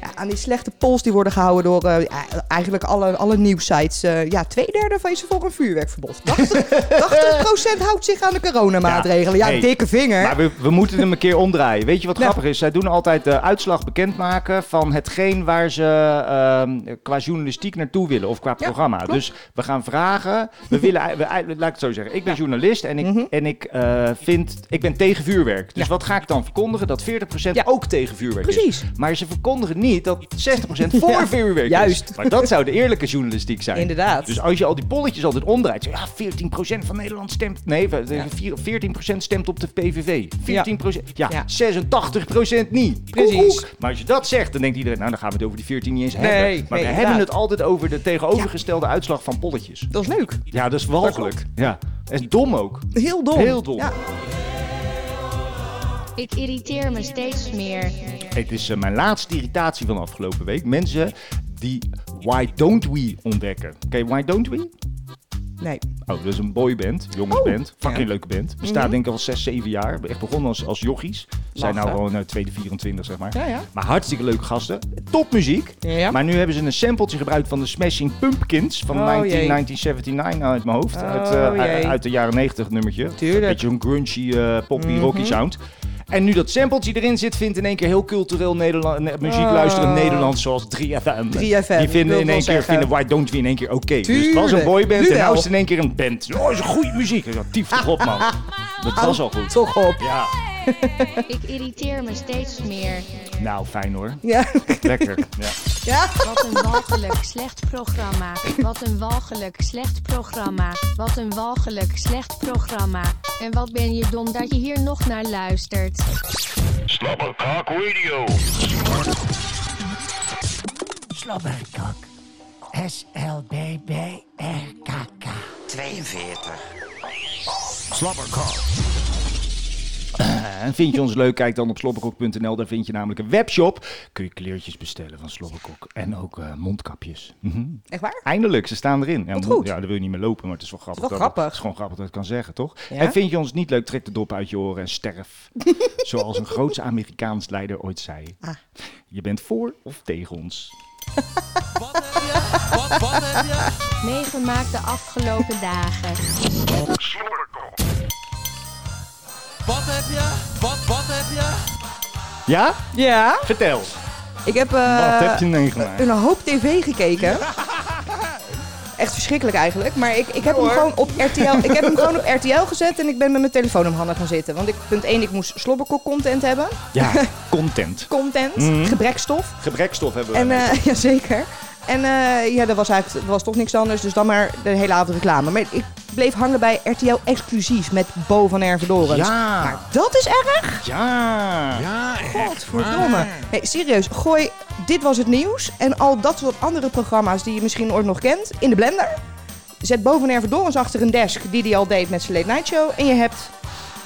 C: Ja, aan die slechte polls die worden gehouden door eh, eh, eigenlijk alle, alle nieuwsites. eh, ja, twee derde van is voor een vuurwerkverbod. 80, 80% houdt zich aan de coronamaatregelen. Ja,
B: Ja, hey.
C: dikke vinger.
B: Maar we, we moeten hem een keer omdraaien. Weet je wat
C: Nou.
B: grappig is? Zij doen altijd de uitslag bekendmaken van hetgeen waar ze ehm, qua journalistiek naartoe willen of qua
C: Ja,
B: programma.
C: klopt.
B: Dus we gaan vragen. We willen, we, laat ik het zo zeggen. Ik ben journalist en ik, en ik eh, vind, ik ben tegen vuurwerk.
C: Mhm.
B: Dus
C: Ja.
B: wat ga ik dan verkondigen? Dat 40%
C: Ja.
B: ook tegen vuurwerk is.
C: Precies.
B: Maar ze verkondigen niet dat 60% voor
C: Ja,
B: vuurwerk
C: juist.
B: is. Maar dat zou de eerlijke journalistiek zijn.
C: Inderdaad.
B: Dus als je al die bolletjes altijd omdraait. Zo, ja, 14% van Nederland stemt. Nee, we-
C: Ja.
B: vier- 14% stemt op de PVV. 14%. Ja,
C: Ja.
B: 86% niet.
C: Precies.
B: Koekoek. Maar als je dat zegt, dan denkt iedereen, nou dan gaan we het over die 14 niet eens
C: Nee,
B: hebben. Maar
C: nee,
B: we
C: inderdaad.
B: hebben het altijd over de tegenovergestelde uitslag van bolletjes.
C: Dat is leuk.
B: Ja, dat is walgelijk. Ja. Dat is dom ook.
C: Heel dom.
B: Heel dom.
C: Ja.
F: Ik irriteer me steeds meer.
B: Het is eh, mijn laatste irritatie van de afgelopen week. Mensen die Why Don't We ontdekken. Oké, Why Don't We?
C: Nee.
B: Oh, dat is een boyband,
C: Oh.
B: jongensband. Fucking leuke
C: Mhm.
B: band. Bestaat denk ik al 6, 7 jaar. Echt begonnen als, als jochies. Zijn nou
C: Lachen.
B: gewoon eh, tweede 24, zeg maar.
C: Ja, ja.
B: Maar hartstikke leuke gasten. Topmuziek.
C: Ja, ja.
B: Maar nu hebben ze een sampletje gebruikt van de Smashing Pumpkins van
C: Oh,
B: 19,
C: jee.
B: 1979 uit mijn hoofd.
C: Oh,
B: uit, eh,
C: jee.
B: uit de jaren 90 nummertje.
C: Tuurlijk. Mhm.
B: Beetje een grungy, eh, poppy, rocky sound. En nu dat sampletje erin zit, vindt in één keer heel cultureel Nederland, ne- muziek
C: Oh.
B: luisteren Nederland zoals 3FM.
C: 3FM,
B: Die
C: ik wil
B: vinden in
C: wel
B: één keer,
C: zeggen.
B: vinden Why Don't We in één keer oké. Dus het was een
C: Tuurlijk.
B: boyband
C: Nu
B: en
C: wel.
B: nou is het in één keer een band. Oh, is een goede muziek. Ja, tief toch op, man. Dat was al goed.
C: Toch op.
B: Ja.
F: Ik irriteer me steeds meer.
B: Nou, fijn hoor.
C: Ja.
B: Lekker. Ja.
C: ja.
H: Wat een walgelijk slecht programma. Wat een walgelijk slecht programma. Wat een walgelijk slecht programma. En wat ben je dom dat je hier nog naar luistert.
I: Slobberkok. S-L-B-B-R-K-K.
D: 42.
B: Eh, En vind je ons leuk, kijk dan op slobberkok.nl. Daar vind je namelijk een webshop. Kun je kleertjes bestellen van Slobberkok. En ook eh, mondkapjes. Mhm.
C: Echt waar?
B: Eindelijk, ze staan erin. Ja,
C: Wat
B: mo-
C: goed.
B: ja, dan wil je niet meer lopen, maar het is wel grappig.
C: Het is wel
B: dat-
C: grappig.
B: Het is gewoon grappig dat ik het kan zeggen, toch?
C: Ja.
B: En vind je ons niet leuk, trek de dop uit je oren en sterf. Zoals een groots Amerikaans leider ooit zei.
C: Ah.
B: Je bent voor of tegen ons.
H: Meegemaakt de afgelopen dagen.
B: Ja?
C: Ja.
B: Vertel.
C: Ik heb, eh,
B: Wat heb je meegemaakt?
C: een hoop tv gekeken. Echt verschrikkelijk eigenlijk. Maar ik, ik, heb hem gewoon op RTL, ik heb hem gewoon op RTL gezet en ik ben met mijn telefoon om handen gaan zitten. Want ik, punt 1, ik moest slobberkok content hebben.
B: Ja, content.
C: Content,
B: Mhm.
C: gebrekstof.
B: Gebrekstof hebben we.
C: En eh jazeker. En eh, ja, dat was eigenlijk er was toch niks anders. Dus dan maar de hele avond reclame. Maar ik bleef hangen bij RTL exclusief met Bo van Ervedorens.
B: Ja.
C: Maar dat is erg.
B: ja.
C: Godverdomme. Nee, serieus. Gooi Dit Was Het Nieuws en al dat soort andere programma's die je misschien ooit nog kent in de blender. Zet Bo van Ervedorens achter een desk die hij al deed met zijn late night show. En je hebt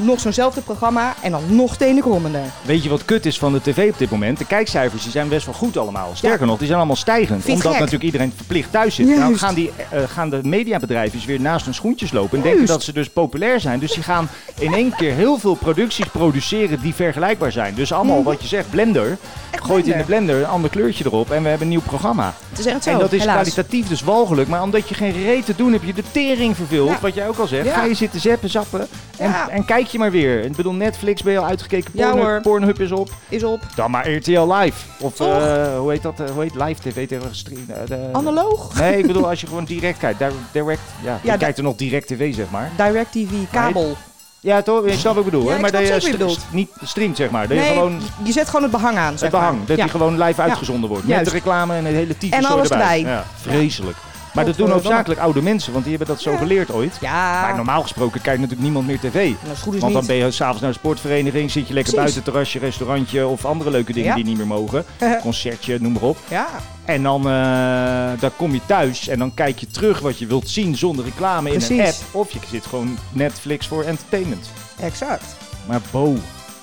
C: nog zo'nzelfde programma en dan nog tenen krommender.
B: Weet je wat kut is van de tv op dit moment? De kijkcijfers die zijn best wel goed allemaal. Sterker nog, die zijn allemaal stijgend.
C: Vind ik
B: omdat
C: gek.
B: natuurlijk iedereen verplicht thuis zit. Nou
C: Juist.
B: gaan, die, eh, gaan de mediabedrijven weer naast hun schoentjes lopen. En denken
C: Juist.
B: dat ze dus populair zijn. Dus die gaan in één keer heel veel producties produceren die vergelijkbaar zijn. Dus allemaal wat je zegt, blender. Gooit in de blender een ander kleurtje erop. En we hebben een nieuw programma.
C: Het is echt zo,
B: en dat is
C: helaas.
B: kwalitatief dus walgelijk. Maar omdat je geen reet te doen hebt, je de tering verveelt.
C: Ja.
B: Wat jij ook al zegt.
C: Ja.
B: Ga je zitten zappen, zappen. En,
C: Ja.
B: en kijk je maar weer. Ik bedoel, Netflix ben je al uitgekeken.
C: Ja,
B: Pornhub,
C: hoor.
B: Pornhub is op.
C: Is op
B: Dan maar RTL Live. Of
C: Toch?
B: eh, hoe heet dat? eh, hoe heet live tv tegenwoordig? Stream, eh, de-
C: analoog.
B: Nee, ik bedoel als je gewoon direct kijkt. Daar- Direct, ja. je
C: da-
B: kijkt er nog direct tv, zeg maar.
C: Direct TV, kabel.
B: Ja, toch? Je snapt wat ik bedoel,
C: Ja,
B: hè?
C: ik
B: Maar
C: snap
B: dat je
C: zeker wat je
B: st- niet streamt, zeg maar. Dat je
C: nee,
B: gewoon
C: je zet gewoon het behang aan.
B: het
C: zeg
B: behang,
C: maar.
B: dat
C: Ja.
B: die gewoon live
C: Ja.
B: uitgezonden wordt. Met
C: Juist.
B: de reclame en het hele tyfus
C: En alles
B: erbij.
C: erbij.
B: Ja, vreselijk. Maar dat doen
C: Godverdomme.
B: hoofdzakelijk oude mensen, want die hebben dat zo geleerd ooit.
C: Ja.
B: Maar normaal gesproken kijkt natuurlijk niemand meer tv.
C: En als het goed is
B: Want dan
C: niet.
B: ben je s'avonds naar de sportvereniging, zit je lekker
C: Precies.
B: buiten, terrasje, restaurantje of andere leuke dingen
C: Ja.
B: die niet meer mogen. Concertje, noem maar op.
C: Ja,
B: En dan, eh, dan kom je thuis en dan kijk je terug wat je wilt zien zonder reclame in een app.
C: Precies.
B: Of je zit gewoon Netflix voor entertainment.
C: exact.
B: Maar Bo,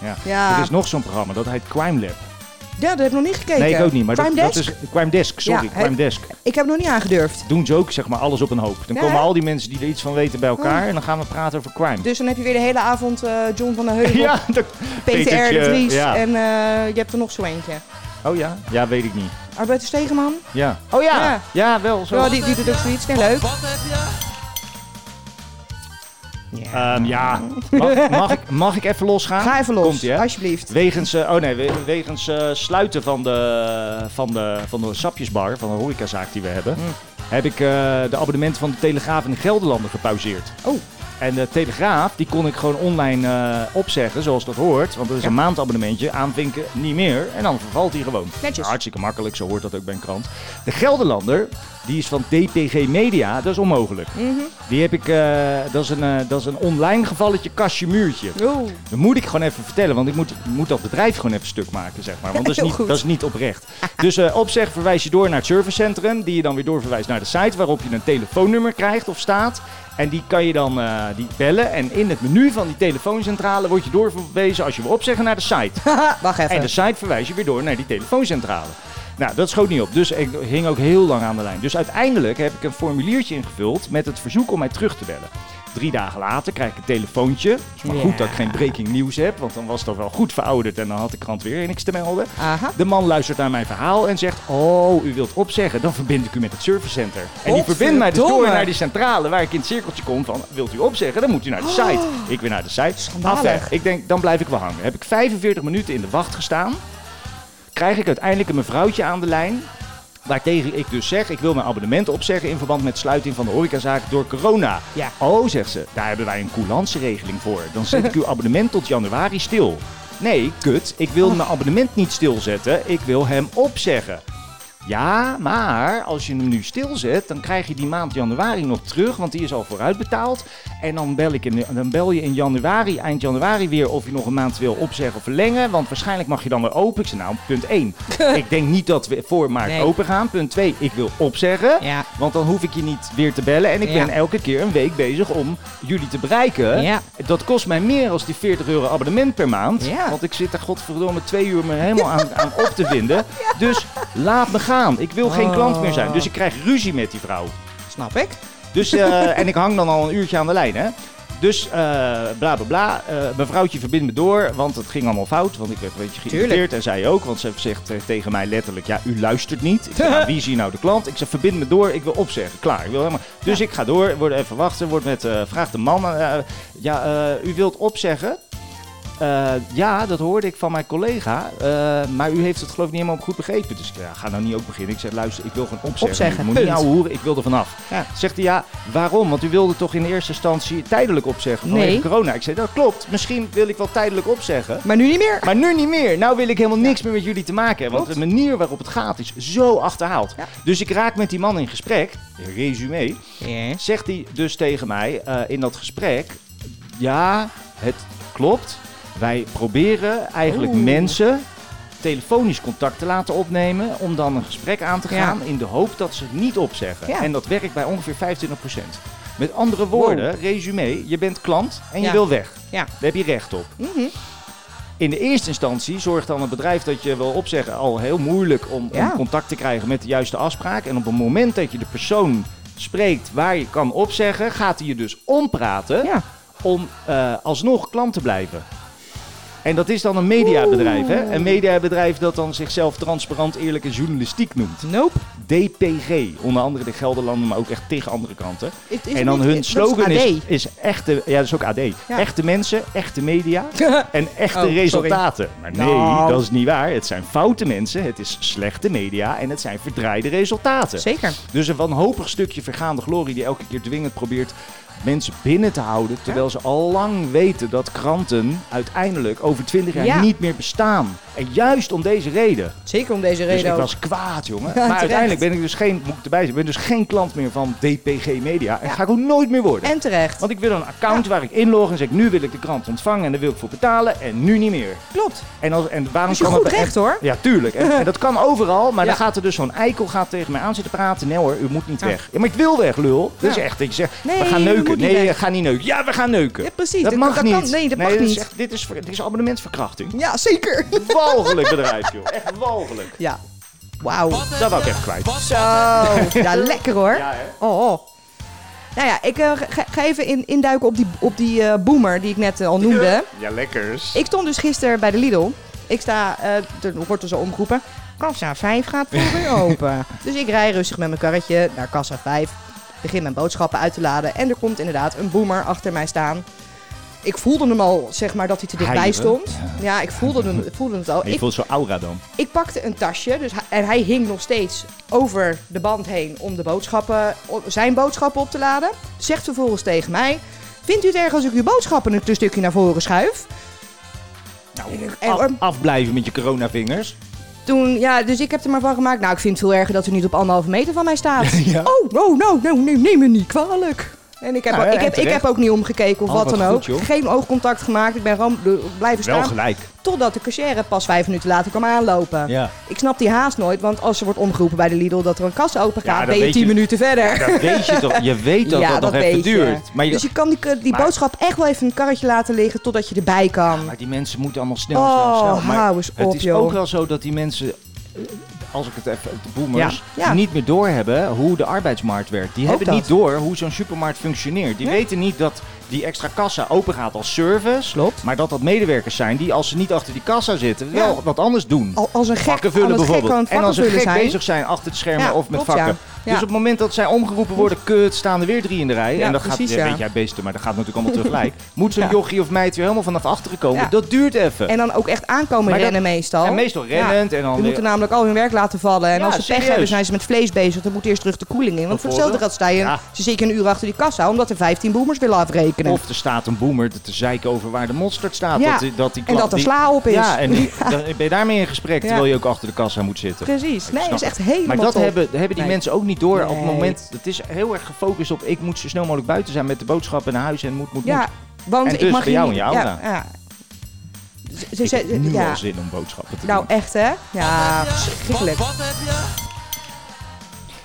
B: ja.
C: Ja.
B: er is nog zo'n programma, dat heet Crime Lab.
C: Ja, dat heb ik nog niet gekeken.
B: Nee, ik ook niet, maar
C: Crime
B: dat,
C: Desk?
B: dat is Crime Desk, sorry,
C: Ja, hè?
B: Crime Desk.
C: Ik heb nog niet aangedurfd.
B: Doen ze ook zeg maar alles op een hoop. Dan
C: Ja,
B: komen
C: hè?
B: al die mensen die er iets van weten bij elkaar en dan gaan we praten over crime.
C: Dus dan heb je weer de hele avond eh, John van der Heuvel,
B: ja, dat...
C: Peter R. de
B: Petertje,
C: Vries
B: ja.
C: en eh, je hebt er nog zo eentje.
B: Oh ja? Ja, weet ik niet.
C: Arbeid Stegeman.
B: Ja. Oh ja! Ja,
C: Ja.
B: wel zo.
C: Ja, die, die doet ook zoiets. Nee, leuk.
B: Ehm, ja. Mag, mag, ik, mag ik even losgaan?
C: Ga even los,
B: Komt-ie, hè?
C: alsjeblieft.
B: Wegens, eh, oh nee, we- wegens eh, sluiten van de, van, de, van de sapjesbar, van de horecazaak die we hebben,
C: Hmm.
B: heb ik eh, de abonnementen van de Telegraaf in de Gelderlanden gepauzeerd.
C: Oh.
B: En de Telegraaf, die kon ik gewoon online eh, opzeggen, zoals dat hoort. Want dat is een maandabonnementje, aanvinken, niet meer. En dan vervalt die gewoon.
C: Netjes.
B: Hartstikke makkelijk, zo hoort dat ook bij een krant. De Gelderlander, die is van DPG Media, dat is onmogelijk.
C: Mhm.
B: Die heb ik, eh, dat, is een, eh, dat is een online gevalletje kastje muurtje.
C: Oeh.
B: Dat moet ik gewoon even vertellen, want ik moet, moet dat bedrijf gewoon even stuk maken, zeg maar. Want dat is
C: Heel
B: niet,
C: goed.
B: dat is niet oprecht. Dus eh, opzeg verwijs je door naar het servicecentrum, die je dan weer doorverwijst naar de site, waarop je een telefoonnummer krijgt of staat. En die kan je dan eh, die bellen. En in het menu van die telefooncentrale word je doorverwezen als je wil opzeggen naar de site.
C: Wacht even.
B: En de site verwijst je weer door naar die telefooncentrale. Nou, dat schoot niet op. Dus ik hing ook heel lang aan de lijn. Dus uiteindelijk heb ik een formuliertje ingevuld met het verzoek om mij terug te bellen. Drie dagen later krijg ik een telefoontje. Het is maar goed dat ik geen breaking news heb, want dan was dat wel goed verouderd en dan had de krant weer niks te melden.
C: Aha.
B: De man luistert naar mijn verhaal en zegt: Oh, u wilt opzeggen, dan verbind ik u met het servicecenter. En die verbindt mij dus door
C: Godverdomme.
B: naar die centrale waar ik in het cirkeltje kom van: Wilt u opzeggen, dan moet u naar de site. Ik weer naar de site.
C: Oh. Schandalig.
B: Afweg. Ik denk, dan blijf ik wel hangen. Heb ik 45 minuten in de wacht gestaan. Krijg ik uiteindelijk een mevrouwtje aan de lijn. Waartegen ik dus zeg, ik wil mijn abonnement opzeggen in verband met sluiting van de horecazaak door corona.
C: Ja.
B: Oh, zegt ze, daar hebben wij een coulanceregeling voor. Dan zet ik uw abonnement tot januari stil. Nee, kut, ik wil
C: Oh.
B: mijn abonnement niet stilzetten, ik wil hem opzeggen. Ja, maar als je hem nu stilzet, dan krijg je die maand januari nog terug, want die is al vooruitbetaald. En dan bel, ik in, dan bel je in januari, eind januari weer of je nog een maand wil opzeggen of verlengen. Want waarschijnlijk mag je dan weer open. Ik zei nou, punt 1. ik denk niet dat we voor maart
C: Nee.
B: open gaan. Punt 2, ik wil opzeggen.
C: Ja.
B: Want dan hoef ik je niet weer te bellen. En ik
C: Ja.
B: ben elke keer een week bezig om jullie te bereiken.
C: Ja.
B: Dat kost mij meer als die 40 euro abonnement per maand.
C: Ja.
B: Want ik zit daar godverdomme twee uur me helemaal aan, aan op te vinden. Dus laat me gaan. Ik wil geen klant meer zijn. Dus ik krijg ruzie met die vrouw.
C: Snap ik.
B: Dus, eh, en ik hang dan al een uurtje aan de lijn, hè. Dus eh, bla bla bla. Eh, mevrouwtje verbindt me door, want het ging allemaal fout. Want ik werd een beetje geïrriteerd.
C: Tuurlijk.
B: En zij ook, want ze zegt eh, tegen mij letterlijk: Ja, u luistert niet. Ik zeg, "Nou, wie is hier nou de klant? Ik zeg: Verbind me door, ik wil opzeggen. Klaar. Ik wil helemaal... Dus ik ga door, word even wachten. Word met, eh, vraagt de man: eh, Ja, eh, u wilt opzeggen? Eh, ja, dat hoorde ik van mijn collega. Eh, maar u heeft het geloof ik niet helemaal goed begrepen. Dus ik ja, ga nou niet ook beginnen. Ik zeg, luister, ik wil gewoon opzeggen.
C: Opzeggen,
B: ik moet niet
C: punt.
B: ouwe hoeren, ik wil er vanaf.
C: Ja.
B: Zegt hij, ja, waarom? Want u wilde toch in eerste instantie tijdelijk opzeggen vanwege
C: Nee.
B: corona? Ik zei, dat klopt. Misschien wil ik wel tijdelijk opzeggen.
C: Maar nu niet meer.
B: Maar nu niet meer. Nou wil ik helemaal niks meer met jullie te maken hebben. Want
C: Klopt.
B: de manier waarop het gaat is zo achterhaald.
C: Ja.
B: Dus ik raak met die man in gesprek. Resume
C: Ja.
B: zegt hij dus tegen mij eh, in dat gesprek: Ja, het klopt. Wij proberen eigenlijk
C: Oeh.
B: mensen telefonisch contact te laten opnemen. om dan een gesprek aan te
C: Ja.
B: gaan. in de hoop dat ze het niet opzeggen.
C: Ja.
B: En dat werkt bij ongeveer 25%. Met andere woorden, resume: je bent klant en je
C: Ja.
B: wil weg.
C: Ja. Mhm.
B: Daar heb je recht op. In de eerste instantie zorgt dan het bedrijf dat je wil opzeggen al heel moeilijk om,
C: Ja.
B: om contact te krijgen met de juiste afspraak. En op het moment dat je de persoon spreekt waar je kan opzeggen, gaat hij je dus ompraten
C: Ja.
B: om eh, alsnog klant te blijven. En dat is dan een mediabedrijf, hè? Een mediabedrijf dat dan zichzelf transparant, eerlijk en journalistiek noemt.
C: Nope.
B: DPG, onder andere de Gelderlanden, maar ook echt tegen andere kanten.
C: Is- is
B: en dan
C: niet-
B: hun
C: dat is
B: slogan is,
C: AD.
B: is, echte, ja, dat is ook AD. Echte mensen, echte media en echte
C: Oh, sorry.
B: resultaten. Maar nee,
C: Nou.
B: dat is niet waar. Het zijn foute mensen, het is slechte media en het zijn verdraaide resultaten.
C: Zeker.
B: Dus een wanhopig stukje vergaande glorie die elke keer dwingend probeert mensen binnen te houden. Terwijl ze al lang weten dat kranten uiteindelijk over 20 jaar
C: Ja.
B: niet meer bestaan. En juist om deze reden.
C: Zeker om deze
B: Dus
C: reden
B: ik
C: ook.
B: was kwaad, jongen. maar
C: terecht.
B: uiteindelijk ben ik dus geen, moet ik erbij zeggen, ben dus geen klant meer van DPG Media. En
C: Ja.
B: ga ik ook nooit meer worden.
C: En terecht.
B: Want ik wil een account waar ik inlog en zeg, nu wil ik de krant ontvangen en daar wil ik voor betalen en nu niet meer.
C: Klopt.
B: En, als, en waarom
C: Is je
B: kan
C: goed
B: dat bij-
C: recht, hoor.
B: Ja, tuurlijk. En, en dat kan overal, maar
C: Ja.
B: dan gaat er dus zo'n eikel gaat tegen mij aan zitten praten. Nee hoor, u moet niet weg. Ja, maar ik wil weg, lul. Dat is
C: Ja.
B: echt dat je zegt,
C: Nee,
B: we gaan
C: je
B: neuken.
C: moet niet
B: Nee,
C: weg.
B: ga niet neuken. Ja, we gaan neuken.
C: Ja, precies.
B: Dat
C: Dit-
B: mag
C: dat
B: niet.
C: kan- nee, dat mag
B: dit is
C: niet.
B: echt- dit, is, ver- dit is abonnementverkrachting.
C: Ja, zeker.
B: Walgelijk bedrijf, joh. Echt walgelijk.
C: Ja. Wauw.
B: Dat wou ik even kwijt.
C: Zo. Ja, lekker hoor.
B: Ja, hè?
C: Oh, oh. Nou ja, ik eh, ga, ga even in, induiken op die, op die eh, boomer die ik net eh, al noemde.
B: Ja, lekkers.
C: Ik stond dus gisteren bij de Lidl. Ik sta, eh, er wordt er zo omgeroepen. Kassa 5 gaat voor weer open. dus ik rij rustig met mijn karretje naar kassa 5. Begin mijn boodschappen uit te laden. En er komt inderdaad een boomer achter mij staan. Ik voelde hem al, zeg maar, dat hij te dichtbij
B: Huilen.
C: stond. Ja, ik voelde, hem, ik voelde het al.
B: Je
C: Ik,
B: voelt zo'n aura dan.
C: ik pakte een tasje dus hij- en hij hing nog steeds over de band heen om de boodschappen, om zijn boodschappen op te laden. Zegt vervolgens tegen mij: Vindt u het erg als ik uw boodschappen een stukje naar voren schuif? En,
B: Nou, Af-
C: ehm,
B: afblijven met je coronavingers.
C: toen, ja, dus ik heb er maar van gemaakt. Nou, ik vind het veel erger dat u niet op anderhalve meter van mij staat.
B: Ja.
C: Oh, nou, nou, nou, nee, neem me niet kwalijk. En ik heb,
B: Nou,
C: ook-
B: ja,
C: ik, heb,
B: en
C: ik heb ook niet omgekeken of
B: Oh,
C: wat
B: wat
C: dan
B: goed,
C: ook.
B: joh.
C: Geen oogcontact gemaakt. Ik ben gewoon bl- blijven
B: Wel
C: staan.
B: gelijk.
C: Totdat de cashier pas vijf minuten later kwam aanlopen.
B: Ja.
C: Ik snap die haast nooit, want als er wordt omgeroepen bij de Lidl dat er een kassa open
B: Ja,
C: gaat,
B: dat
C: ben je
B: weet
C: tien
B: je.
C: minuten verder.
B: Dat weet je toch? Je weet dat dat, nog even
C: weet je.
B: duurt. Maar, je-
C: Dus je kan die, k- die
B: Maar-
C: boodschap echt wel even een karretje laten liggen totdat je erbij kan.
B: maar die mensen moeten allemaal snel,
C: Oh,
B: snel, snel. Maar
C: hou eens
B: het
C: op,
B: is
C: joh.
B: ook wel zo dat die mensen, eh, als ik het even, de boomers,
C: Ja. Ja.
B: niet meer doorhebben hoe de arbeidsmarkt werkt. Die
C: Ook
B: hebben
C: dat.
B: niet door hoe zo'n supermarkt functioneert. Die
C: Nee.
B: weten niet dat die extra kassa open gaat als service.
C: Klopt.
B: Maar dat dat medewerkers zijn die als ze niet achter die kassa zitten, wel
C: Ja. Oh,
B: wat anders doen.
C: Al- Als een gek
B: vakken
C: aan
B: vullen
C: het gek
B: bijvoorbeeld.
C: aan het
B: en
C: vakken
B: als ze
C: vullen
B: gek
C: zijn.
B: bezig zijn achter het schermen
C: Ja,
B: of met
C: klopt, ja.
B: vakken.
C: Ja.
B: Dus op het moment dat zij omgeroepen worden, kut, staan er weer drie in de rij.
C: Ja,
B: en dat
C: precies,
B: gaat, ja,
C: ja.
B: weet jij beesten, maar dat gaat natuurlijk allemaal tegelijk. Moet zo'n
C: Ja.
B: jochie of meid weer helemaal vanaf achteren komen.
C: Ja.
B: Dat duurt even.
C: En dan ook echt aankomen
B: Maar dat-
C: rennen meestal.
B: En meestal rennend en dan
C: Die moeten
B: weer...
C: namelijk al hun werk laten vallen. En
B: Ja,
C: als ze pech
B: serieus.
C: hebben, zijn ze met vlees bezig. Dan moet eerst terug de koeling in. Want voor hetzelfde gaat sta je,
B: Ja.
C: ze zitten een uur achter die kassa, omdat er 15 boomers willen afrekenen.
B: Of er staat een boomer te zeiken over waar de mosterd staat.
C: Ja.
B: Dat, die- dat die
C: en
B: klap-
C: dat er
B: die-
C: sla op is.
B: Ja, en die- dan ben je daarmee in gesprek
C: Ja.
B: terwijl je ook achter de kassa moet zitten.
C: Precies. Nee, dat
B: snap
C: is
B: het.
C: echt helemaal
B: Maar dat
C: top.
B: hebben, hebben die
C: Nee.
B: mensen ook niet door. Op het
C: Nee.
B: moment, het is heel erg gefocust op ik moet zo snel mogelijk buiten zijn met de boodschappen naar huis en moet, moet,
C: Ja,
B: moet.
C: want
B: En
C: ik
B: dus
C: mag
B: bij
C: hier
B: jou
C: niet-
B: en je aura.
C: Ja, ja. Ze- Ze,
B: Ik
C: ze-
B: heb nu
C: Dus ja.
B: al zin om boodschappen te
C: Nou,
B: doen.
C: echt hè? Ja, verschrikkelijk.
E: Wat heb je?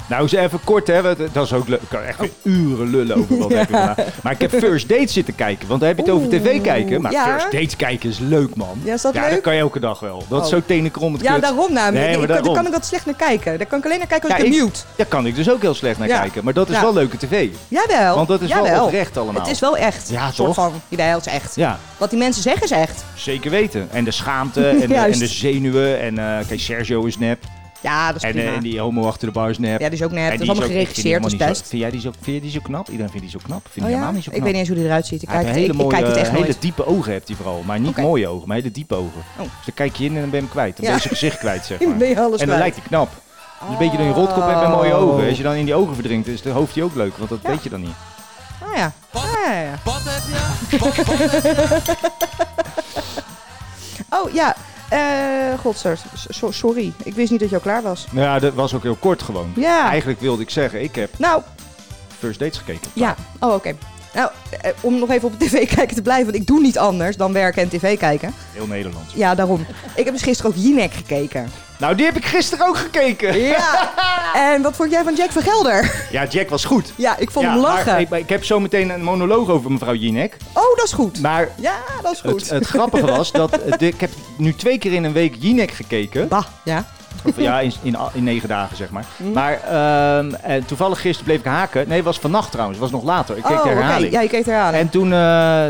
B: Nou, eens even kort hè, want, eh, dat is ook leuk. Ik kan
C: Oh.
B: echt weer uren lullen over wat heb ik gedaan. Maar ik heb First Dates zitten kijken, want dan heb je het over
C: Oeh,
B: tv kijken. Maar
C: ja.
B: First Dates kijken is leuk man.
C: Ja, is dat
B: ja,
C: leuk?
B: dat kan je elke dag wel. Dat is
C: Oh.
B: zo tenenkrommend
C: Ja,
B: kut.
C: daarom namelijk.
B: Nee,
C: ik,
B: maar
C: ik-
B: daarom.
C: Daar kan ik dat slecht naar kijken. Daar kan ik alleen naar kijken als
B: Ja,
C: ik
B: ik-
C: het mute.
B: Daar kan ik dus ook heel slecht naar
C: Ja.
B: kijken. Maar dat is
C: Ja.
B: wel leuke tv.
C: Jawel.
B: Want dat is wel
C: jawel.
B: oprecht allemaal.
C: Het is wel echt.
B: Ja,
C: Een soort
B: toch?
C: van, jawel, het is echt.
B: Ja,
C: Wat die mensen zeggen is echt.
B: zeker weten. En de schaamte en, de, en
C: Juist.
B: de zenuwen. En eh, kijk, Sergio is nep.
C: Ja, dat is
B: En,
C: prima.
B: eh, en die homo achter de bar is nep.
C: ja, die is ook net.
B: En
C: Dat is
B: die
C: allemaal
B: ook- ik vind die
C: geregisseerd, dat is
B: helemaal niet zo-
C: best.
B: Vind jij die zo, vind je die zo knap? Iedereen vindt die zo knap. Vind ik
C: Oh ja?
B: helemaal niet
C: Ik
B: zo
C: weet
B: knap.
C: niet eens hoe die eruit ziet. Ik
B: Hij heeft
C: kijk,
B: een
C: het,
B: hele
C: ik, ik
B: mooie, eh,
C: kijk het echt
B: hele
C: nooit.
B: diepe ogen heeft hij vooral. Maar niet
C: Oké. Oh.
B: mooie ogen, maar hele diepe ogen. Dus dan kijk je in en dan ben je hem kwijt. Dan
C: Ja.
B: ben je zijn gezicht kwijt, zeg
C: Dan
B: maar.
C: ben je alles
B: en dan
C: kwijt.
B: lijkt hij knap. Dus een beetje dan je rotkop hebt en mooie ogen. Als je dan in die ogen verdrinkt, is het hoofd die ook leuk. Want dat
C: Ja.
B: weet je dan niet.
C: Ah ja. Ah, ja, ja.
E: Wat heb je? Wat, wat heb je?
C: Oh ja. Eh Godstert. So- sorry. Ik wist niet dat je al klaar was.
B: Nou ja, dat was ook heel kort gewoon.
C: Ja.
B: Eigenlijk wilde ik zeggen, ik heb
C: Nou,
B: First Dates gekeken.
C: ja. Oh, oké. Nou, eh, om nog even op tv kijken te blijven. Want ik doe niet anders dan werken en tv kijken.
B: Heel Nederland.
C: Ja, daarom. Ik heb dus gisteren ook Jinek gekeken.
B: Nou, die heb ik gisteren ook gekeken.
C: Ja. En wat vond jij van Jack van Gelder?
B: Ja, Jack was goed.
C: Ja, ik vond
B: ja,
C: hem
B: maar
C: lachen.
B: ik, maar ik heb zo meteen een monoloog over mevrouw Jinek.
C: Oh, dat is goed.
B: Maar
C: Ja, dat is goed.
B: het, het grappige was dat... eh, de- ik heb nu twee keer in een week Jinek gekeken.
C: Bah, ja.
B: Of ja, in, in, in negen dagen, zeg maar.
C: Hm.
B: Maar ehm, en toevallig gisteren bleef ik haken. Nee, het was vannacht trouwens. Het was nog later. Ik keek
C: oh,
B: de
C: oké.
B: herhaling.
C: Ja, je keek eraan.
B: En toen eh,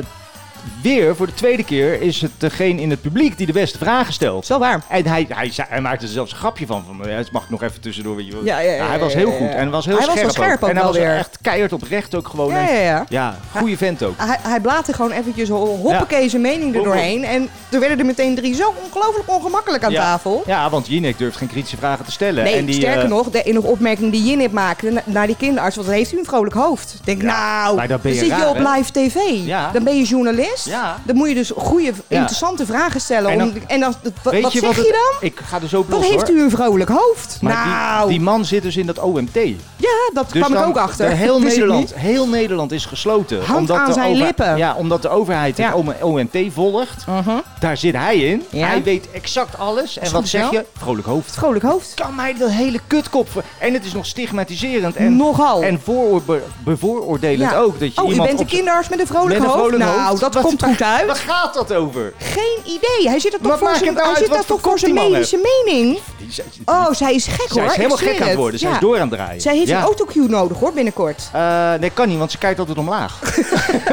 B: weer, voor de tweede keer, is het degene in het publiek die de beste vragen stelt.
C: is wel waar.
B: En hij, hij, zei- hij maakte er zelfs een grapje van. van ja, het mag ik nog even tussendoor. Weet je wel.
C: Ja, ja, ja,
B: Nou, hij was heel
C: ja, ja, ja.
B: goed. En was heel
C: Hij was
B: scherp,
C: wel scherp ook
B: En hij
C: wel
B: was
C: weer.
B: echt keihard oprecht ook gewoon.
C: Ja,
B: En-
C: ja, ja.
B: ja, goede vent ook.
C: Hij, hij blaatte gewoon eventjes ho- hoppakee zijn mening er
B: Hop, hop.
C: doorheen. En er werden er meteen drie zo ongelooflijk ongemakkelijk aan
B: Ja.
C: tafel.
B: Ja, want Jinek durft geen kritische vragen te stellen.
C: Nee,
B: en die,
C: sterker
B: eh,
C: nog, de enige opmerking die Jinip maakte na- naar die kinderarts, want dan heeft u een vrolijk hoofd. Ik denk,
B: Ja,
C: nou,
B: maar dan ben je
C: zit je
B: raar,
C: op
B: hè?
C: live tv.
B: Ja.
C: Dan ben je journalist.
B: Ja.
C: Dan moet je dus goede,
B: Ja.
C: interessante vragen stellen.
B: En
C: En
B: dan-
C: dan, en dan, wat,
B: weet
C: wat
B: je
C: zeg
B: wat
C: je
B: het-
C: dan?
B: Ik ga er zo op
C: Wat
B: los,
C: heeft
B: hoor.
C: u een vrolijk hoofd?
B: Maar die-
C: nou,
B: die, man zit dus in dat OMT.
C: ja, dat
B: Dus
C: kwam ik
B: dan-
C: ook achter.
B: de- Heel
C: Wist ik
B: Nederland,
C: niet.
B: heel Nederland is gesloten.
C: Hand aan zijn lippen.
B: Ja, omdat de overheid
C: Ja.
B: het OMT volgt.
C: Mhm.
B: Daar zit hij in.
C: Ja.
B: Hij weet exact alles. En
C: Is
B: wat
C: goed
B: zeg
C: wel.
B: je? Vrolijk hoofd.
C: Vrolijk hoofd.
B: Kan mij dat hele kutkop ver- En het is nog stigmatiserend. En,
C: Nogal.
B: en vooroor- be- bevooroordelend
C: Ja.
B: ook. Dat je
C: oh, u
B: iemand
C: bent een
B: op-
C: kinderarts met een vrolijk,
B: met een vrolijk
C: hoofd? Nou,
B: hoofd.
C: dat
B: Wat-
C: komt goed
B: Waar
C: uit.
B: gaat dat over?
C: Geen idee. Hij zit er
B: Wat
C: toch voor
B: maakt
C: zijn,
B: het nou
C: hij
B: uit
C: zit
B: wat
C: daar
B: voor
C: toch voor
B: kop
C: zijn
B: die man
C: medische mening.
B: Die- zij-
C: Oh, zij is gek
B: zij
C: hoor.
B: is
C: Ik
B: helemaal
C: zweer
B: gek aan het worden. Zij
C: Ja.
B: is door aan het draaien.
C: Zij heeft
B: Ja.
C: een autocue nodig hoor, binnenkort.
B: Eh, nee, kan niet, want ze kijkt altijd omlaag.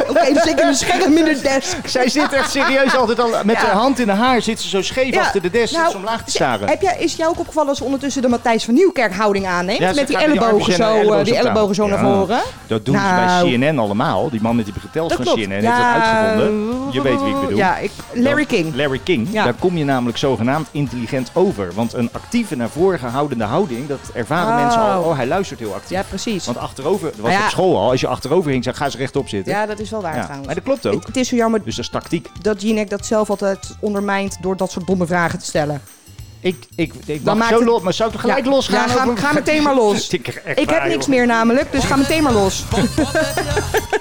C: Oké, dus ik in een scherm in de desk.
B: Zij zit echt serieus altijd al met
C: Ja.
B: haar hand in haar haar zit ze zo scheef
C: Ja,
B: achter de desk
C: nou,
B: zit ze omlaag te staren.
C: Heb jij, is jou ook opgevallen dat ze ondertussen de Matthijs van Nieuwkerk houding aanneemt?
B: Ja, ze
C: met die
B: gaat met die
C: ellebogen
B: armpjes en
C: zo,
B: de ellebogen
C: eh, die
B: op tafel.
C: ellebogen zo naar
B: Ja.
C: voren.
B: Dat doen
C: Nou.
B: ze bij CNN allemaal. Die man met die geteld
C: Dat
B: van
C: klopt.
B: CNN heeft dat uitgevonden. Je weet wie ik bedoel.
C: Oh, Ja, ik, Larry
B: Dan-
C: King.
B: Larry King.
C: Ja.
B: Daar kom je namelijk zogenaamd intelligent over. Want een actieve naar voren gehoudende houding, dat ervaren
C: Oh.
B: mensen al. Oh, hij luistert heel actief.
C: Ja, precies.
B: Want achterover, dat was
C: Ja.
B: op school al, als je achterover ging, zei ga eens rechtop zitten.
C: Ja, dat is wel waar
B: Ja.
C: trouwens.
B: Maar dat klopt ook.
C: Het, het is zo jammer
B: Dus dat is tactiek.
C: dat Jinek dat zelf altijd ondermijnt door dat soort domme vragen te stellen.
B: Ik, ik, ik
C: Dan
B: mag
C: maakt
B: zo
C: het-
B: los, maar zou ik gelijk
C: Ja.
B: losgaan?
C: Ja, ga-
B: over-
C: ga meteen maar los.
B: Ik, krijg echt
C: Ik heb
B: waar,
C: niks
B: Ah, joh.
C: meer namelijk, dus ga meteen maar los.
E: Wat heb je?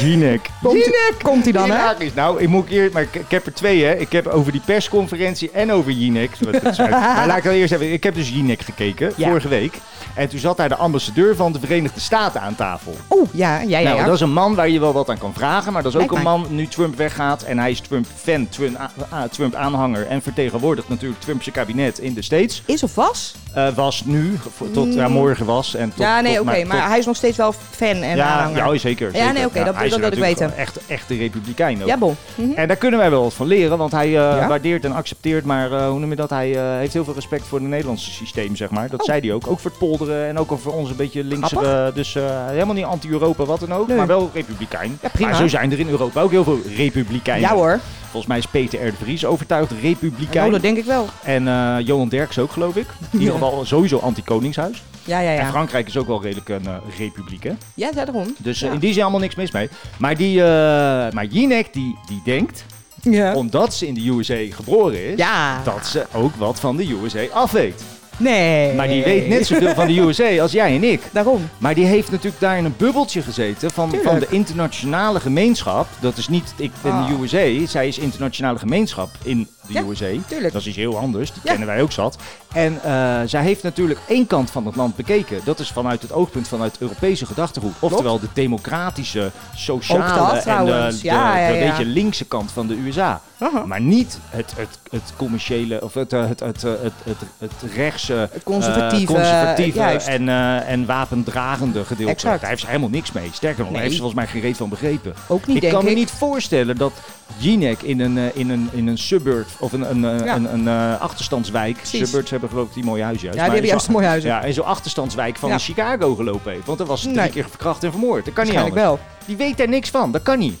B: Jinek.
C: Jinek komt hij dan,
B: Die
C: hè?
B: raak is- Nou, ik moet eerst, maar ik, ik heb er twee, hè. Ik heb over die persconferentie en over Jinek. Wat dat schrijft. maar laat ik dan eerst even... Ik heb dus Jinek gekeken,
C: Ja.
B: vorige week. En toen zat daar de ambassadeur van de Verenigde Staten aan tafel.
C: Oeh, ja, ja, ja.
B: nou,
C: ja.
B: dat is een man waar je wel wat aan kan vragen. Maar dat is ook
C: Lijkt
B: een man, nu Trump weggaat. En hij is Trump-fan, Trump-aanhanger. en vertegenwoordigt natuurlijk Trump zijn kabinet in de States.
C: Is of was?
B: eh, was nu, voor- tot ja, morgen was. En tot,
C: Mm. ja, nee,
B: tot-
C: oké. maar
B: tot-
C: hij is nog steeds wel fan en
B: ja, oh,
C: aanhanger.
B: ja, zeker.
C: Ja,
B: zeker.
C: nee, oké, dat-
B: hij is
C: dat wilde ik
B: natuurlijk
C: weten.
B: gewoon Echt, echt de republikein ook.
C: Ja, bon. Mhm.
B: En daar kunnen wij wel wat van leren, want hij eh,
C: Ja?
B: waardeert en accepteert, maar eh, hoe noem je dat? Hij eh, heeft heel veel respect voor het Nederlandse systeem, zeg maar. Dat
C: Oh.
B: zei hij ook. Ook voor het polderen en ook voor ons een beetje linkser. Dus eh, helemaal niet anti-Europa, wat dan ook,
C: Nee.
B: maar wel republikein.
C: Ja, prima.
B: Maar zo zijn er in Europa ook heel veel republikeinen.
C: Ja hoor.
B: Volgens mij is Peter R. de Vries overtuigd
C: Oh,
B: republikein.
C: dat denk ik wel.
B: en eh, Johan Derks ook, geloof ik. In ieder geval sowieso anti-koningshuis.
C: Ja, ja,
B: En
C: ja.
B: Frankrijk is ook wel redelijk een eh, republiek, hè?
C: Ja, daarom.
B: Dus eh,
C: Ja.
B: in die zin allemaal niks mis mee. Maar, die, eh, maar Jinek, die, die denkt,
C: Ja.
B: omdat ze in de USA geboren is,
C: Ja.
B: dat ze ook wat van de USA af weet.
C: Nee.
B: Maar die weet net zoveel van de USA als jij en ik.
C: Daarom.
B: Maar die heeft natuurlijk daar in een bubbeltje gezeten van,
C: Tuurlijk.
B: van de internationale gemeenschap. Dat is niet ik ben
C: Ah.
B: de USA, zij is internationale gemeenschap in de
C: Ja,
B: USA.
C: tuurlijk.
B: Dat is iets heel anders, die
C: Ja.
B: kennen wij ook zat. En eh, zij heeft natuurlijk één kant van het land bekeken. Dat is vanuit het oogpunt vanuit het Europese gedachtegoed. Oftewel de democratische,
C: Ook
B: sociale
C: dat
B: en de,
C: trouwens.
B: de-
C: Ja, ja,
B: de
C: ja.
B: beetje linkse kant van de USA.
C: Aha.
B: Maar niet het, het, het commerciële of het, eh, het, het, eh, het, het, het rechtse,
C: Het conservatieve,
B: eh, conservatieve
C: juist.
B: en, eh, en wapendragende gedeelte.
C: Exact.
B: Daar heeft ze helemaal niks mee. Sterker nog, daar
C: Nee.
B: heeft ze volgens mij geen reet van begrepen.
C: Ook niet,
B: ik
C: denk
B: kan me
C: ik.
B: niet voorstellen dat Jinek in een, eh, in een, in een suburb of een, een, eh,
C: Ja.
B: een, een, eh, achterstandswijk.
C: Precies.
B: Suburbs hebben geloof ik die mooie huizen.
C: Ja, die hebben juist een mooi huis.
B: Ja, in zo'n achterstandswijk van
C: Ja.
B: Chicago gelopen heeft. Want dan was ze drie
C: Nee.
B: keer verkracht en vermoord. Dat kan niet
C: Waarschijnlijk
B: anders.
C: wel.
B: Die weet daar niks van. Dat kan niet.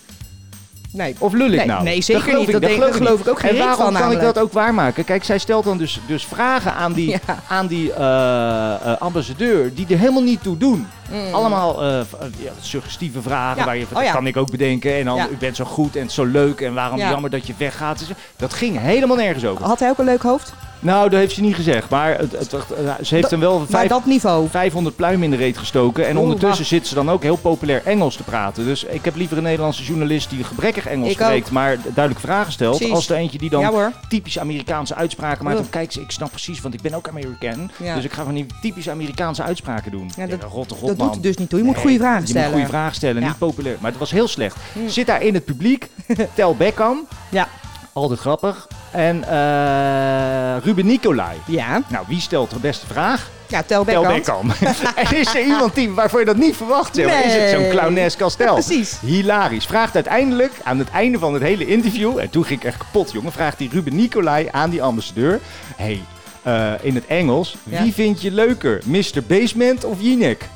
C: Nee.
B: Of lul ik
C: Nee,
B: nou?
C: nee, zeker
B: geloof
C: niet. Dat denk- dat geloof ik ook geen
B: En
C: reet
B: waarom
C: van
B: kan ik
C: namelijk.
B: dat ook waarmaken? Kijk, zij stelt dan dus, dus vragen aan die,
C: Ja.
B: aan die eh, eh, ambassadeur die er helemaal niet toe doen. Allemaal eh, v- eh, ja, suggestieve vragen
C: Mm. Ja.
B: waar je van,
C: Oh ja.
B: dat kan ik ook bedenken. En dan,
C: Ja.
B: u bent zo goed en zo leuk en waarom
C: Ja.
B: jammer dat je weggaat. Dat ging helemaal nergens over.
C: Had hij ook een leuk hoofd?
B: Nou, dat heeft ze niet gezegd. Maar het, het- het- ze heeft
C: Dat-
B: hem wel
C: Maar
B: vijf,
C: dat niveau.
B: 500 pluimen in de reet gestoken. En
C: Oeh,
B: ondertussen
C: wacht.
B: zit ze dan ook heel populair Engels te praten. Dus ik heb liever een Nederlandse journalist die gebrekkig Engels
C: Ik
B: spreekt, maar duidelijk vragen stelt.
C: Precies.
B: Als er eentje die dan
C: Ja hoor.
B: typisch Amerikaanse uitspraken maakt.
C: Ugh.
B: Dan kijk ze, ik snap precies, want ik ben ook American.
C: Ja.
B: Dus ik ga van die typisch Amerikaanse uitspraken doen. Ja,
C: Ja,
B: dat,
C: dat-
B: rotte god,
C: Dat
B: man.
C: doet het dus niet toe. Je moet
B: Nee,
C: goede vragen
B: Je moet
C: stellen.
B: goede vragen stellen,
C: Ja. Hm.
B: niet populair. Maar het was heel slecht. Zit daar in het publiek, Tel Beckham.
C: Ja.
B: Altijd grappig. En eh, Ruben Nicolai.
C: Ja.
B: Nou, wie stelt de beste vraag?
C: Ja, tel
B: Tel
C: Beckham.
B: Beckham. en is er iemand die, waarvoor je dat niet verwacht? zeg maar? Is het zo'n
C: Nee.
B: clownesk kastel?
C: Precies.
B: Hilarisch. Vraagt uiteindelijk, aan het einde van het hele interview... en toen ging ik echt kapot, jongen... vraagt die Ruben Nicolai aan die ambassadeur... hey, eh, in het Engels,
C: Ja.
B: wie vind je leuker? Mr. Basement of Jinek?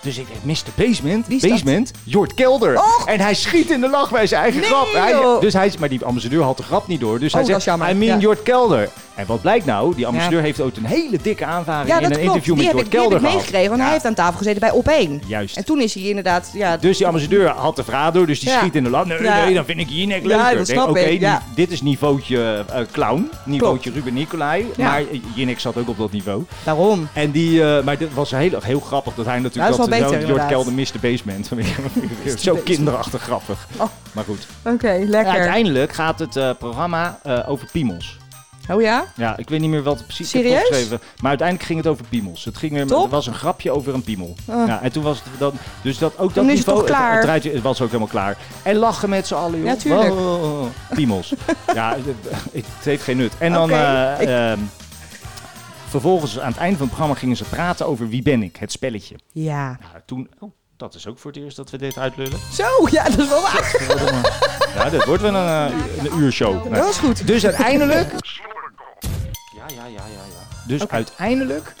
B: Dus ik denk, Mr. Basement?
C: Wie is dat?
B: Basement? Jort Kelder.
C: Och.
B: En hij schiet in de lach bij zijn eigen
C: Nee,
B: grap. Hij,
C: joh. Oh,
B: dus hij, maar die ambassadeur had de grap niet door. Dus hij
C: dat
B: zegt,
C: is jammer.
B: I mean
C: Ja.
B: Jort Kelder. En wat blijkt nou? Die ambassadeur heeft ooit een hele dikke aanvaring
C: Ja,
B: in een
C: dat klopt.
B: interview
C: Die heb,
B: met Jort
C: ik, die heb ik
B: Kelder gehad.
C: meegekregen. Want
B: Ja,
C: hij heeft aan tafel gezeten bij Op1.
B: Juist.
C: En toen is hij inderdaad... Ja,
B: Dus die ambassadeur had de vraag door, dus die
C: Ja.
B: schiet in de lach. Nee,
C: Ja.
B: nee, dan vind ik Jinek
C: Ja,
B: leuker.
C: dat
B: Ik denk,
C: snap
B: Oké,
C: ik,
B: die-
C: ja.
B: dit is niveautje eh, clown, niveautje Ruben Nicolai.
C: Ja.
B: Maar Jinek zat ook op dat niveau.
C: daarom.
B: En die, eh, maar dat was heel, heel grappig dat hij
C: Ja, dat
B: natuurlijk
C: is wel beter,
B: zo'n Jord
C: inderdaad.
B: Kelder Mr. Basement. Zo
C: Basement.
B: kinderachtig grappig.
C: Oh.
B: Maar goed.
C: Oké, lekker.
B: uiteindelijk gaat het eh, programma eh, over piemels.
C: oh ja?
B: Ja, ik weet niet meer wat het precies ik heb
C: Serieus?
B: opgeschreven. Maar uiteindelijk ging het over piemels. Het ging weer,
C: Top.
B: er was een grapje over een piemel.
C: Ah.
B: Ja, en toen was het dan, dus dat ook
C: Toen
B: dat
C: is het
B: niveau.
C: toch klaar?
B: Het, draait- het was ook helemaal klaar. En lachen met z'n allen, joh.
C: Ja, tuurlijk.
B: Wow. Piemels. ja, het het heeft geen nut. En dan
C: Oké,
B: eh,
C: ik-
B: ehm, vervolgens aan het eind van het programma gingen ze praten over wie ben ik, het spelletje.
C: Ja.
B: Nou, toen, oh, dat is ook voor het eerst dat we dit uitlullen.
C: Zo, ja, dat is wel waar.
B: ja, dit wordt wel een, eh, u- een uurshow. Nee.
C: Dat is goed.
B: Dus uiteindelijk. Ja, ja, ja, ja, ja. Dus uiteindelijk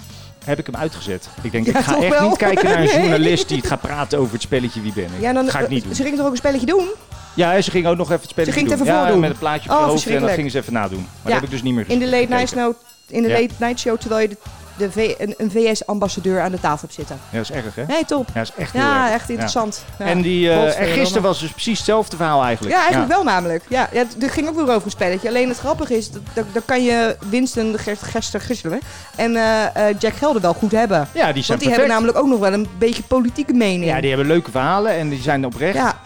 B: heb ik hem uitgezet. Ik denk,
C: Ja,
B: ik ga
C: toch
B: echt
C: wel?
B: niet kijken naar een
C: Nee.
B: journalist die het gaat praten over het spelletje Wie Ben ik.
C: Ja, dan, eh,
B: ga ik niet doen.
C: Ze ging toch ook een spelletje doen?
B: Ja, en ze ging ook nog even het spelletje
C: ging het
B: doen.
C: even
B: ja,
C: voordoen.
B: met een plaatje op
C: Oh,
B: je hoofd en dat
C: verschrikkelijk.
B: ging ze even nadoen. Maar dat
C: Ja.
B: heb ik dus niet meer
C: In de late nou.
B: gekeken.
C: night show, in de
B: Ja.
C: late night show terwijl je de, de v, een, een VS-ambassadeur aan de tafel hebt zitten.
B: Ja, dat is erg, hè? Ja,
C: Nee, top.
B: dat is echt heel
C: Ja,
B: erg.
C: echt interessant. Ja.
B: En, die, eh, en
C: Godverdomme.
B: gisteren was dus precies hetzelfde verhaal eigenlijk.
C: Ja, eigenlijk wel namelijk. Ja, ja, het- er ging ook weer over een spelletje. Alleen het grappige is, dat- dat- dan kan je Winston de Ger- Gerster gisteren en eh, eh, Jack Gelder wel goed hebben. Want
B: Ja, die
C: die
B: zijn
C: hebben
B: perfect.
C: namelijk ook nog wel een beetje politieke mening.
B: Ja, die hebben leuke verhalen en die zijn oprecht.
C: Ja,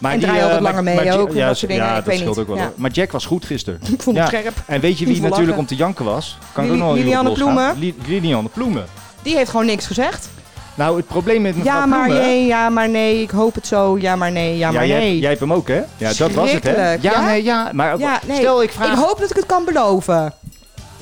B: Maar
C: En draaien
B: eh,
C: al wat
B: maar-
C: langer
B: maar
C: mee
B: Ja-
C: ook en
B: ja,
C: dat soort dingen.
B: Ja,
C: Ik
B: dat
C: weet
B: scheelt
C: niet.
B: ook wel.
C: Ja.
B: hoor. Maar Jack was goed gisteren.
C: ik vond het
B: Ja.
C: scherp.
B: En weet je wie
C: Niet voor
B: natuurlijk om
C: lachen.
B: te janken was? Kan ik
C: Lili-
B: ook nog wel
C: Liliane
B: iemand losgaan?
C: Ploemen?
B: Li- Liliane Ploemen.
C: Die heeft gewoon niks gezegd.
B: Nou, het probleem met mevrouw
C: Ja, maar
B: Ploemen...
C: nee, ja, maar nee. Ik hoop het zo. Ja, maar nee, ja,
B: Ja,
C: maar
B: jij,
C: nee.
B: jij hebt hem ook, hè? Ja, dat was het, hè?
C: Schrikkelijk,
B: Ja,
C: ja?
B: nee, ja. Maar
C: Ja, nee.
B: stel, ik vraag...
C: Ik hoop dat ik het kan beloven.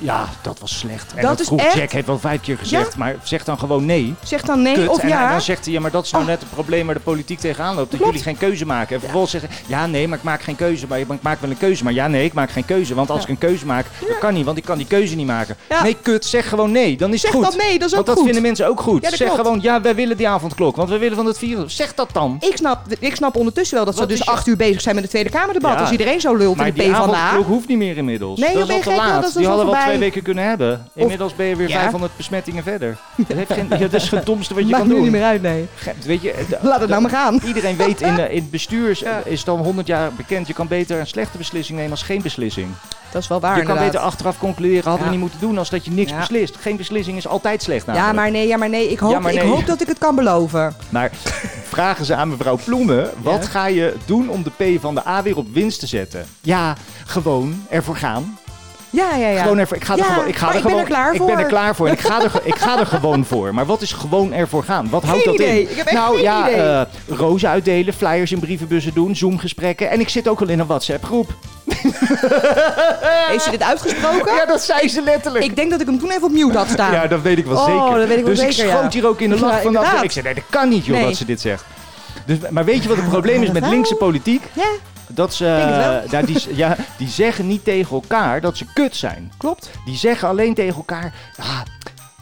B: Ja, dat was slecht. En
C: Dat
B: dat
C: is
B: vroeg
C: echt-
B: Jack heeft wel vijf keer gezegd, maar zeg dan gewoon nee.
C: Zeg dan nee
B: Kut.
C: of
B: en hij-
C: ja.
B: dan zegt hij, ja, maar dat is nou
C: Ah.
B: net het probleem waar de politiek tegenaan loopt. Dat
C: Klopt.
B: jullie geen keuze maken. En vervolgens zeggen, ja, nee, maar ik maak geen keuze. Maar ik maak wel een keuze. Maar ja, nee, ik maak geen keuze. Want als
C: Ja.
B: ik een keuze maak, dat kan niet. Want ik kan die keuze niet maken.
C: Ja.
B: Nee, kut, zeg gewoon nee. Dan is
C: Zeg
B: het goed.
C: dan nee, dat is ook
B: want dat
C: goed.
B: vinden mensen ook goed.
C: Ja, dat
B: zeg
C: klopt.
B: gewoon, ja, wij willen die avondklok. Want we willen van het virus. Zeg dat dan.
C: Ik snap, ik snap ondertussen wel dat ze
B: Wat
C: dus
B: is je-
C: acht uur bezig zijn met het Tweede Kamerdebat.
B: Ja.
C: Als iedereen zo lult
B: Maar
C: in de
B: die
C: P van de A.
B: avondklok hoeft niet meer inmiddels.
C: Nee, joh,
B: dat
C: ben
B: is
C: je
B: al te
C: gek, joh,
B: laat.
C: dat is
B: die
C: al
B: hadden we al
C: voorbij.
B: twee weken kunnen hebben. Inmiddels ben je weer
C: Ja.
B: 500 besmettingen verder. Dat, heeft geen, ja, dat is het domste wat je
C: Maakt
B: kan
C: nu
B: doen.
C: niet meer uit, nee.
B: Ge- Weet je, eh,
C: Laat het nou maar gaan.
B: Iedereen weet in, eh, in het bestuur is-
C: Ja.
B: is dan 100 jaar bekend. Je kan beter een slechte beslissing nemen als geen beslissing.
C: Dat is wel waar,
B: je kan
C: Ah, inderdaad.
B: beter achteraf concluderen, hadden
C: Ja.
B: we niet moeten doen als dat je niks
C: Ja.
B: beslist. Geen beslissing is altijd slecht
C: Ja
B: namelijk.
C: maar, nee, ja, maar nee, ik hoop,
B: Ja, maar
C: ik
B: nee.
C: hoop dat ik het kan beloven.
B: Maar vragen ze aan mevrouw Ploemen, wat
C: Ja.
B: ga je doen om de P van de A weer op winst te zetten? Ja, gewoon ervoor gaan.
C: Ja, ja, ja.
B: Gewoon ervoor, ik ga er
C: Ja,
B: gewoon, ik ga
C: maar
B: er
C: ik ben
B: gewoon,
C: er klaar
B: Ik ben
C: voor.
B: er klaar voor en ik ga er, ge- ik ga er gewoon voor. Maar wat is gewoon ervoor gaan? Wat houdt
C: Geen
B: dat
C: idee.
B: in?
C: Ik heb echt
B: nou
C: geen
B: ja,
C: idee.
B: eh, rozen uitdelen, flyers in brievenbussen doen, Zoom-gesprekken. En ik zit ook al in een WhatsApp-groep.
C: Eh. Heeft ze dit uitgesproken?
B: Ja, dat zei ze letterlijk.
C: Ik denk dat ik hem toen even op mute had staan.
B: ja, dat weet ik wel
C: Oh,
B: zeker.
C: dat weet ik wel
B: dus
C: zeker,
B: ik schoot
C: ja.
B: hier ook in de
C: Ja,
B: lach van dat-
C: inderdaad.
B: Ik zei, nee, dat kan niet, joh,
C: Nee.
B: dat ze dit zegt. Dus, maar weet je wat het probleem is met
C: wel.
B: linkse politiek?
C: Ja,
B: Dat ze,
C: denk het wel.
B: nou, die, ja, die zeggen niet tegen elkaar dat ze kut zijn.
C: klopt.
B: Die zeggen alleen tegen elkaar, ah,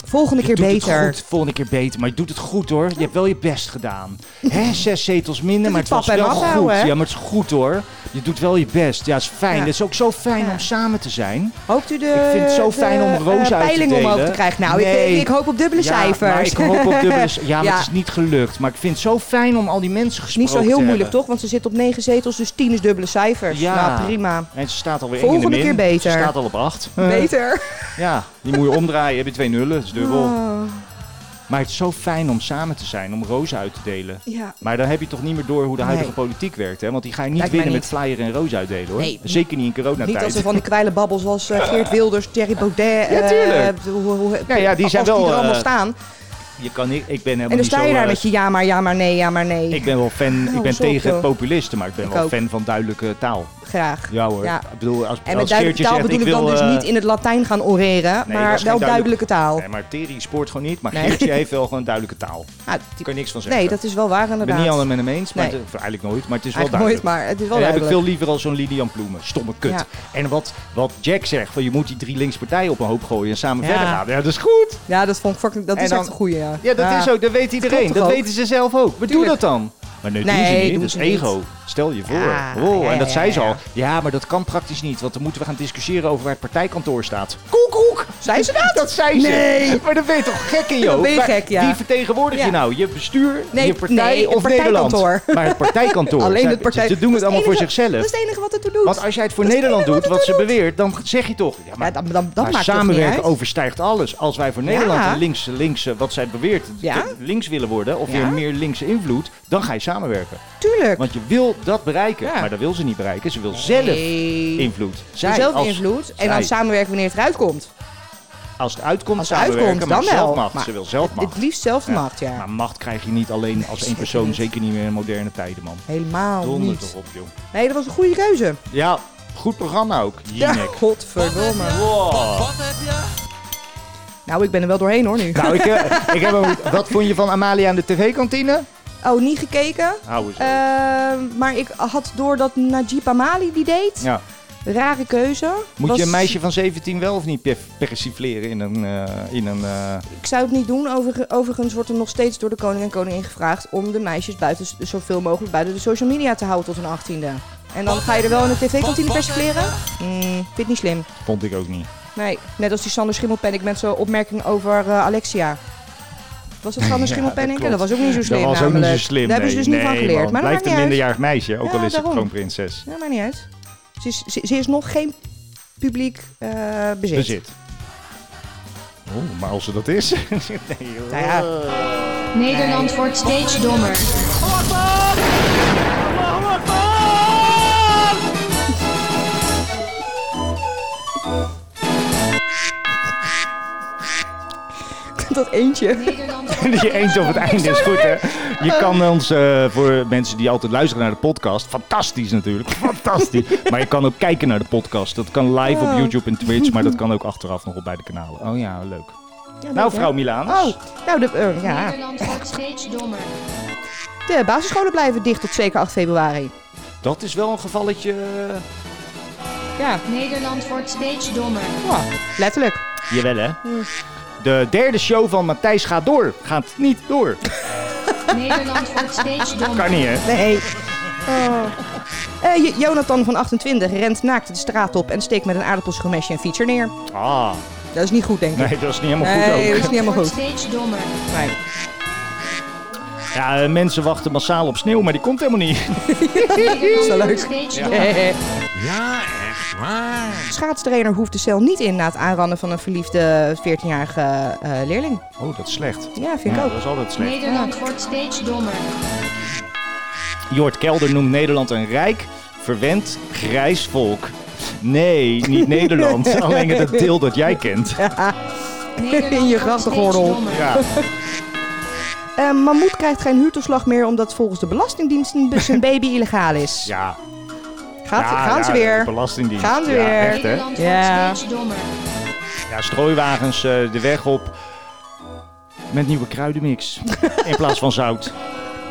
C: Volgende
B: je
C: keer
B: doet
C: beter.
B: het goed, volgende keer beter. Maar je doet het goed hoor, je hebt wel je best gedaan. Hè, zes zetels minder, maar het
C: is
B: was
C: pap en
B: wel
C: nat
B: goed.
C: houden, hè?
B: ja, maar het is goed hoor. Je doet wel je best. Ja, het is fijn.
C: Ja.
B: Het is ook zo fijn
C: Ja.
B: om samen te zijn.
C: Hoopt u de,
B: Ik vind het zo
C: de,
B: fijn om
C: eh,
B: rozen uit te
C: peiling omhoog
B: delen.
C: te krijgen? Nou,
B: Nee.
C: ik, ik hoop op dubbele
B: Ja, maar
C: cijfers.
B: ik hoop op dubbele c- Ja, maar
C: Ja.
B: het is niet gelukt. Maar ik vind het zo fijn om al die mensen gesproken
C: Niet zo
B: te
C: heel moeilijk,
B: hebben.
C: toch? Want ze zit op negen zetels, dus tien is dubbele cijfers.
B: Ja.
C: Nou, prima.
B: En ze staat alweer
C: Volgende
B: één in de
C: keer
B: min.
C: beter.
B: Ze staat al op acht.
C: Beter.
B: Ja, die moet je omdraaien. Heb je twee nullen, dat is dubbel.
C: Oh,
B: Maar het is zo fijn om samen te zijn, om rozen uit te delen.
C: ja.
B: Maar dan heb je toch niet meer door hoe de huidige
C: Nee.
B: politiek werkt, hè? Want die ga je niet
C: Lijkt mij
B: winnen met
C: niet.
B: flyer en roos uitdelen, hoor.
C: Nee.
B: Zeker niet in coronatijd.
C: Niet als er van die kwijle babbels zoals eh, Geert Wilders, Thierry Baudet.
B: Nou, Ja,
C: eh,
B: tuurlijk.
C: hoe- hoe- hoe-
B: Ja, ja, die zijn
C: als
B: wel,
C: Die er allemaal
B: eh,
C: staan.
B: Je kan niet, ik ben helemaal
C: En dan
B: niet
C: sta je
B: zo,
C: daar
B: eh,
C: met je ja maar, ja maar, nee, ja maar, nee.
B: Ik ben wel fan, ik
C: Oh,
B: ben
C: zot,
B: tegen
C: joh.
B: populisten, maar ik ben
C: Ik
B: wel
C: ook.
B: fan van duidelijke taal.
C: Graag.
B: Ja hoor.
C: Ja.
B: Ik bedoel, als,
C: En met
B: als
C: duidelijke
B: Geertje
C: taal
B: zegt,
C: bedoel ik,
B: wil,
C: dan
B: eh,
C: dus niet in het Latijn gaan oreren,
B: nee, dat
C: maar
B: is geen
C: wel
B: duidelijk-
C: duidelijke taal.
B: Nee, maar Thierry spoort gewoon niet, maar
C: Nee.
B: Geertje heeft wel gewoon duidelijke taal. Daar
C: Nou, die-
B: kan je niks van zeggen.
C: nee, dat is wel waar
B: ik ben
C: inderdaad.
B: niet allemaal met hem eens, maar
C: Nee.
B: het- of eigenlijk nooit, maar het is wel
C: Eigenlijk nooit,
B: duidelijk.
C: maar het is wel
B: En heb ik
C: duidelijk.
B: veel liever al zo'n Lilian Ploemen. Stomme kut.
C: Ja.
B: En wat, wat Jack zegt, van je moet die drie linkspartijen op een hoop gooien en samen
C: Ja.
B: verder gaan. Ja, dat is goed.
C: Ja, dat vond ik fucking, dat
B: En
C: is
B: dan-
C: echt een goeie, ja.
B: Ja, dat is ook. Dat weet iedereen.
C: klopt
B: Dat
C: toch ook?
B: weten ze zelf ook. Maar doe
C: Tuurlijk.
B: dat dan. Maar nee, doen ze
C: Nee,
B: niet.
C: doen
B: dat
C: ze
B: is ego.
C: niet.
B: Stel je voor.
C: Ja,
B: Wow,
C: ja,
B: en dat
C: ja,
B: zei ze
C: ja,
B: al.
C: ja.
B: Ja, maar dat kan praktisch niet. Want dan moeten we gaan discussiëren over waar het partijkantoor staat. Koek, koek.
C: Zei ze dat?
B: Dat zei ze. Nee. Maar dan ben je toch gek in je
C: Dan
B: hoofd?
C: ben je
B: Maar
C: gek, ja.
B: Wie vertegenwoordig je
C: Ja.
B: nou? Je bestuur,
C: Nee,
B: je partij
C: nee, het
B: of Nederland?
C: partijkantoor.
B: Maar het partijkantoor.
C: Alleen
B: Zij-
C: het partij-
B: Ze doen
C: Dat
B: het
C: is
B: allemaal voor
C: enige- Dat
B: zichzelf.
C: is het enige wat het toe doet.
B: Want als jij het voor
C: Dat is
B: Nederland
C: het enige
B: doet,
C: wat
B: wat ze beweert, dan zeg je toch... Ja, maar
C: ja, dan, dan, dat
B: maar
C: maakt toch niet
B: samenwerken
C: uit.
B: overstijgt alles. Als wij voor Nederland
C: Ja.
B: een linkse, linkse, wat zij beweert, te-
C: Ja.
B: links willen worden, of
C: Ja.
B: weer meer linkse invloed, dan ga je samenwerken.
C: Tuurlijk.
B: Want je wil dat bereiken.
C: Ja.
B: Maar dat wil ze niet bereiken. Ze wil zelf
C: Nee.
B: invloed. Zij
C: zelf
B: als,
C: invloed en
B: zij.
C: dan samenwerken wanneer het eruit komt.
B: als het uitkomt,
C: Als het
B: samenwerken,
C: uitkomt,
B: maar
C: dan
B: zelf
C: wel.
B: macht.
C: Maar
B: ze wil zelf macht.
C: Het liefst zelf de
B: Ja.
C: macht, ja.
B: Maar macht krijg je niet alleen als één
C: zeker
B: persoon,
C: niet.
B: zeker niet meer in moderne tijden, man.
C: Helemaal
B: Donder
C: niet.
B: toch op, joh.
C: Nee, dat was een goede keuze.
B: Ja, goed programma ook.
C: Ja,
B: Jinek.
C: godverdomme.
B: Wow.
C: Nou, ik ben er wel doorheen hoor nu.
B: Nou, ik, eh, ik heb een- wat vond je van Amalia aan de tv-kantine?
C: Oh, niet gekeken.
B: Hou eens op.
C: Ehm, maar ik had door dat Najib Amali die deed.
B: Ja.
C: Rare keuze.
B: Moet
C: Was-
B: je een meisje van 17 wel of niet pef- persifleren in een... eh, in een eh,
C: Ik zou het niet doen. Over, overigens wordt er nog steeds door de koning en koningin gevraagd... om de meisjes buiten, zoveel mogelijk buiten de social media te houden tot hun achttiende. En dan ga je er wel in de tv-kantine persifleren? Mm, vind ik niet slim.
B: Vond ik ook niet.
C: Nee, net als die Sander Schimmelpenninck met zo'n opmerking over eh, Alexia. Was dat Sander
B: Ja,
C: Schimmelpenninck?
B: dat
C: Dat, was ook niet zo slim
B: dat was ook niet
C: namelijk.
B: zo slim.
C: Daar hebben ze dus
B: nee.
C: niet van
B: Nee,
C: geleerd.
B: man.
C: Maar dat maakt
B: Blijft
C: niet
B: een
C: uit.
B: minderjarig meisje, ook
C: Ja,
B: al is ze
C: daarom.
B: gewoon prinses.
C: Dat maakt niet uit. Ze is, ze, ze is nog geen publiek eh, bezit.
B: Bezit. Oh, maar als ze dat is... nee, joh.
C: Nou ja,
F: Nederland wordt steeds dommer.
C: dat eentje.
F: Nederland.
B: Die eens op het einde is goed, hè? Je kan ons, eh, voor mensen die altijd luisteren naar de podcast, fantastisch natuurlijk, fantastisch. Maar je kan ook kijken naar de podcast. Dat kan live op
C: Oh.
B: YouTube en Twitch, maar dat kan ook achteraf nog op beide kanalen. Oh ja, leuk.
C: Ja,
B: Nou,
C: leuk, hè?
B: vrouw Milaans.
C: Oh, nou, de, eh, ja.
F: Nederland wordt steeds dommer.
C: de basisscholen blijven dicht tot zeker 8 februari.
B: Dat is wel een gevalletje.
C: Ja,
F: Nederland wordt steeds dommer.
C: ja, letterlijk.
B: Jawel, hè? De derde show van Matthijs gaat door. Gaat niet door.
F: Nederland wordt steeds dommer.
B: Kan niet, hè?
C: Nee. Oh. Eh, J- Jonathan van 28 rent naakt de straat op en steekt met een aardappelschomesje een fietser neer.
B: Ah,
C: Dat is niet goed, denk ik.
B: nee, dat is niet helemaal goed
C: Nee,
B: ook.
C: dat is niet helemaal
F: wordt
C: goed.
F: steeds dommer.
C: Nee.
B: Ja, eh, mensen wachten massaal op sneeuw, maar die komt helemaal niet.
F: Nederland
C: Zo leuk.
F: wordt steeds dommer.
C: Ja, echt waar. Schaatstrainer hoeft de cel niet in na het aanrannen van een verliefde 14-jarige eh, leerling.
B: Oh, dat is slecht.
C: Ja, vind ik
B: Ja,
C: ook.
B: dat is altijd slecht.
F: Nederland wordt steeds dommer.
B: Jort Kelder noemt Nederland een rijk, verwend, grijs volk. Nee, niet Nederland. Alleen het deel dat jij kent.
F: Nederland
C: In je
F: wordt steeds
C: grachtengordel.
F: dommer.
B: Ja.
C: Eh Mammoet krijgt geen huurtoeslag meer omdat volgens de Belastingdienst een- zijn baby illegaal is.
B: Ja.
C: Gaat,
B: Ja,
C: gaan ze
B: ja, de
C: weer.
B: Belastingdienst.
C: Gaan ze
B: Ja,
C: weer.
B: echt, hè?
F: Nederland
C: Ja.
F: wordt steeds dommer.
B: Ja, strooiwagens eh, de weg op. Met nieuwe kruidenmix. In plaats van zout.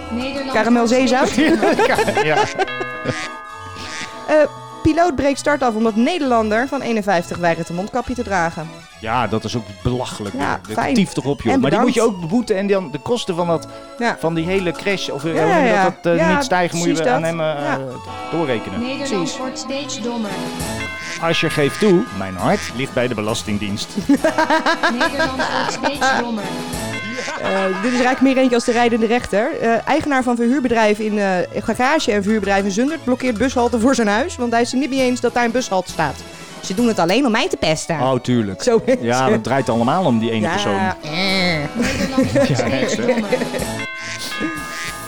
F: Nederland
C: Karamel
F: wordt
C: zeezout?
F: steeds dommer.
B: Ja.
C: Eh, piloot breekt start af omdat Nederlander van 51 weigert een mondkapje te dragen.
B: ja, dat is ook belachelijk.
C: Ja,
B: dat
C: fijn.
B: tieft toch op, joh.
C: En
B: Maar die moet
C: bedankt.
B: je ook beboeten. En dan de kosten van, dat,
C: Ja.
B: van die hele crash. Of eh,
C: Ja,
B: hoe noem je
C: ja.
B: dat, dat eh,
C: Ja,
B: niet stijgen, moet je
C: precies
B: aan
C: dat.
B: hem eh,
C: Ja.
B: doorrekenen.
F: Nederland
C: Precies.
F: wordt steeds dommer.
B: Als je geeft toe, mijn hart ligt bij de Belastingdienst.
F: Nederland wordt steeds dommer.
C: Eh, dit is eigenlijk meer eentje als de rijdende rechter. Eh, eigenaar van verhuurbedrijf in eh, garage en verhuurbedrijf in Zundert blokkeert bushalte voor zijn huis. Want hij is het niet mee eens dat daar een bushalte staat. Ze doen het alleen om mij te pesten.
B: Oh, tuurlijk.
C: Zo is
B: Ja,
C: het.
B: het draait allemaal om die ene
C: Ja,
B: persoon.
C: eh.
F: Nederland wordt steeds dommer.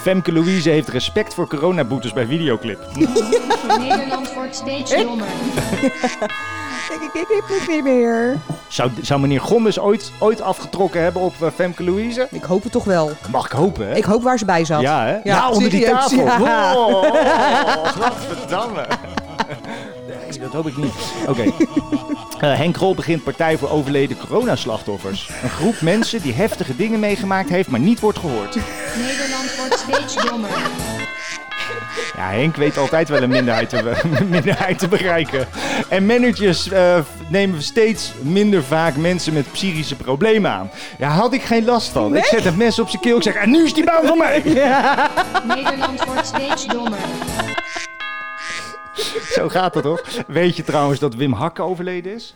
B: Femke Louise heeft respect voor coronaboetes bij videoclip.
F: Nederland wordt steeds dommer.
C: Ik, ik, ik, ik moet niet meer.
B: Zou, zou meneer Gommes ooit, ooit afgetrokken hebben op eh, Femke Louise?
C: Ik hoop het toch wel.
B: Dat mag ik hopen, hè?
C: Ik hoop waar ze bij zat.
B: Ja, hè? nou, onder die
C: serieus,
B: tafel.
C: ja.
B: Wow, godverdamme. Nee, dat hoop ik niet. Oké. Eh, Henk Krol begint Partij voor Overleden Coronaslachtoffers. Een groep mensen die heftige dingen meegemaakt heeft, maar niet wordt gehoord.
F: Nederland wordt steeds dommer.
B: Ja, Henk weet altijd wel een minderheid te, be- minderheid te bereiken. En managers eh, nemen steeds minder vaak mensen met psychische problemen aan. Ja, had ik geen last van. Ik zet het mes op zijn keel. Ik zeg, en nu is die baan van mij.
F: Nederland wordt steeds dommer.
B: Zo gaat dat toch? Weet je trouwens dat Wim Hakke overleden is?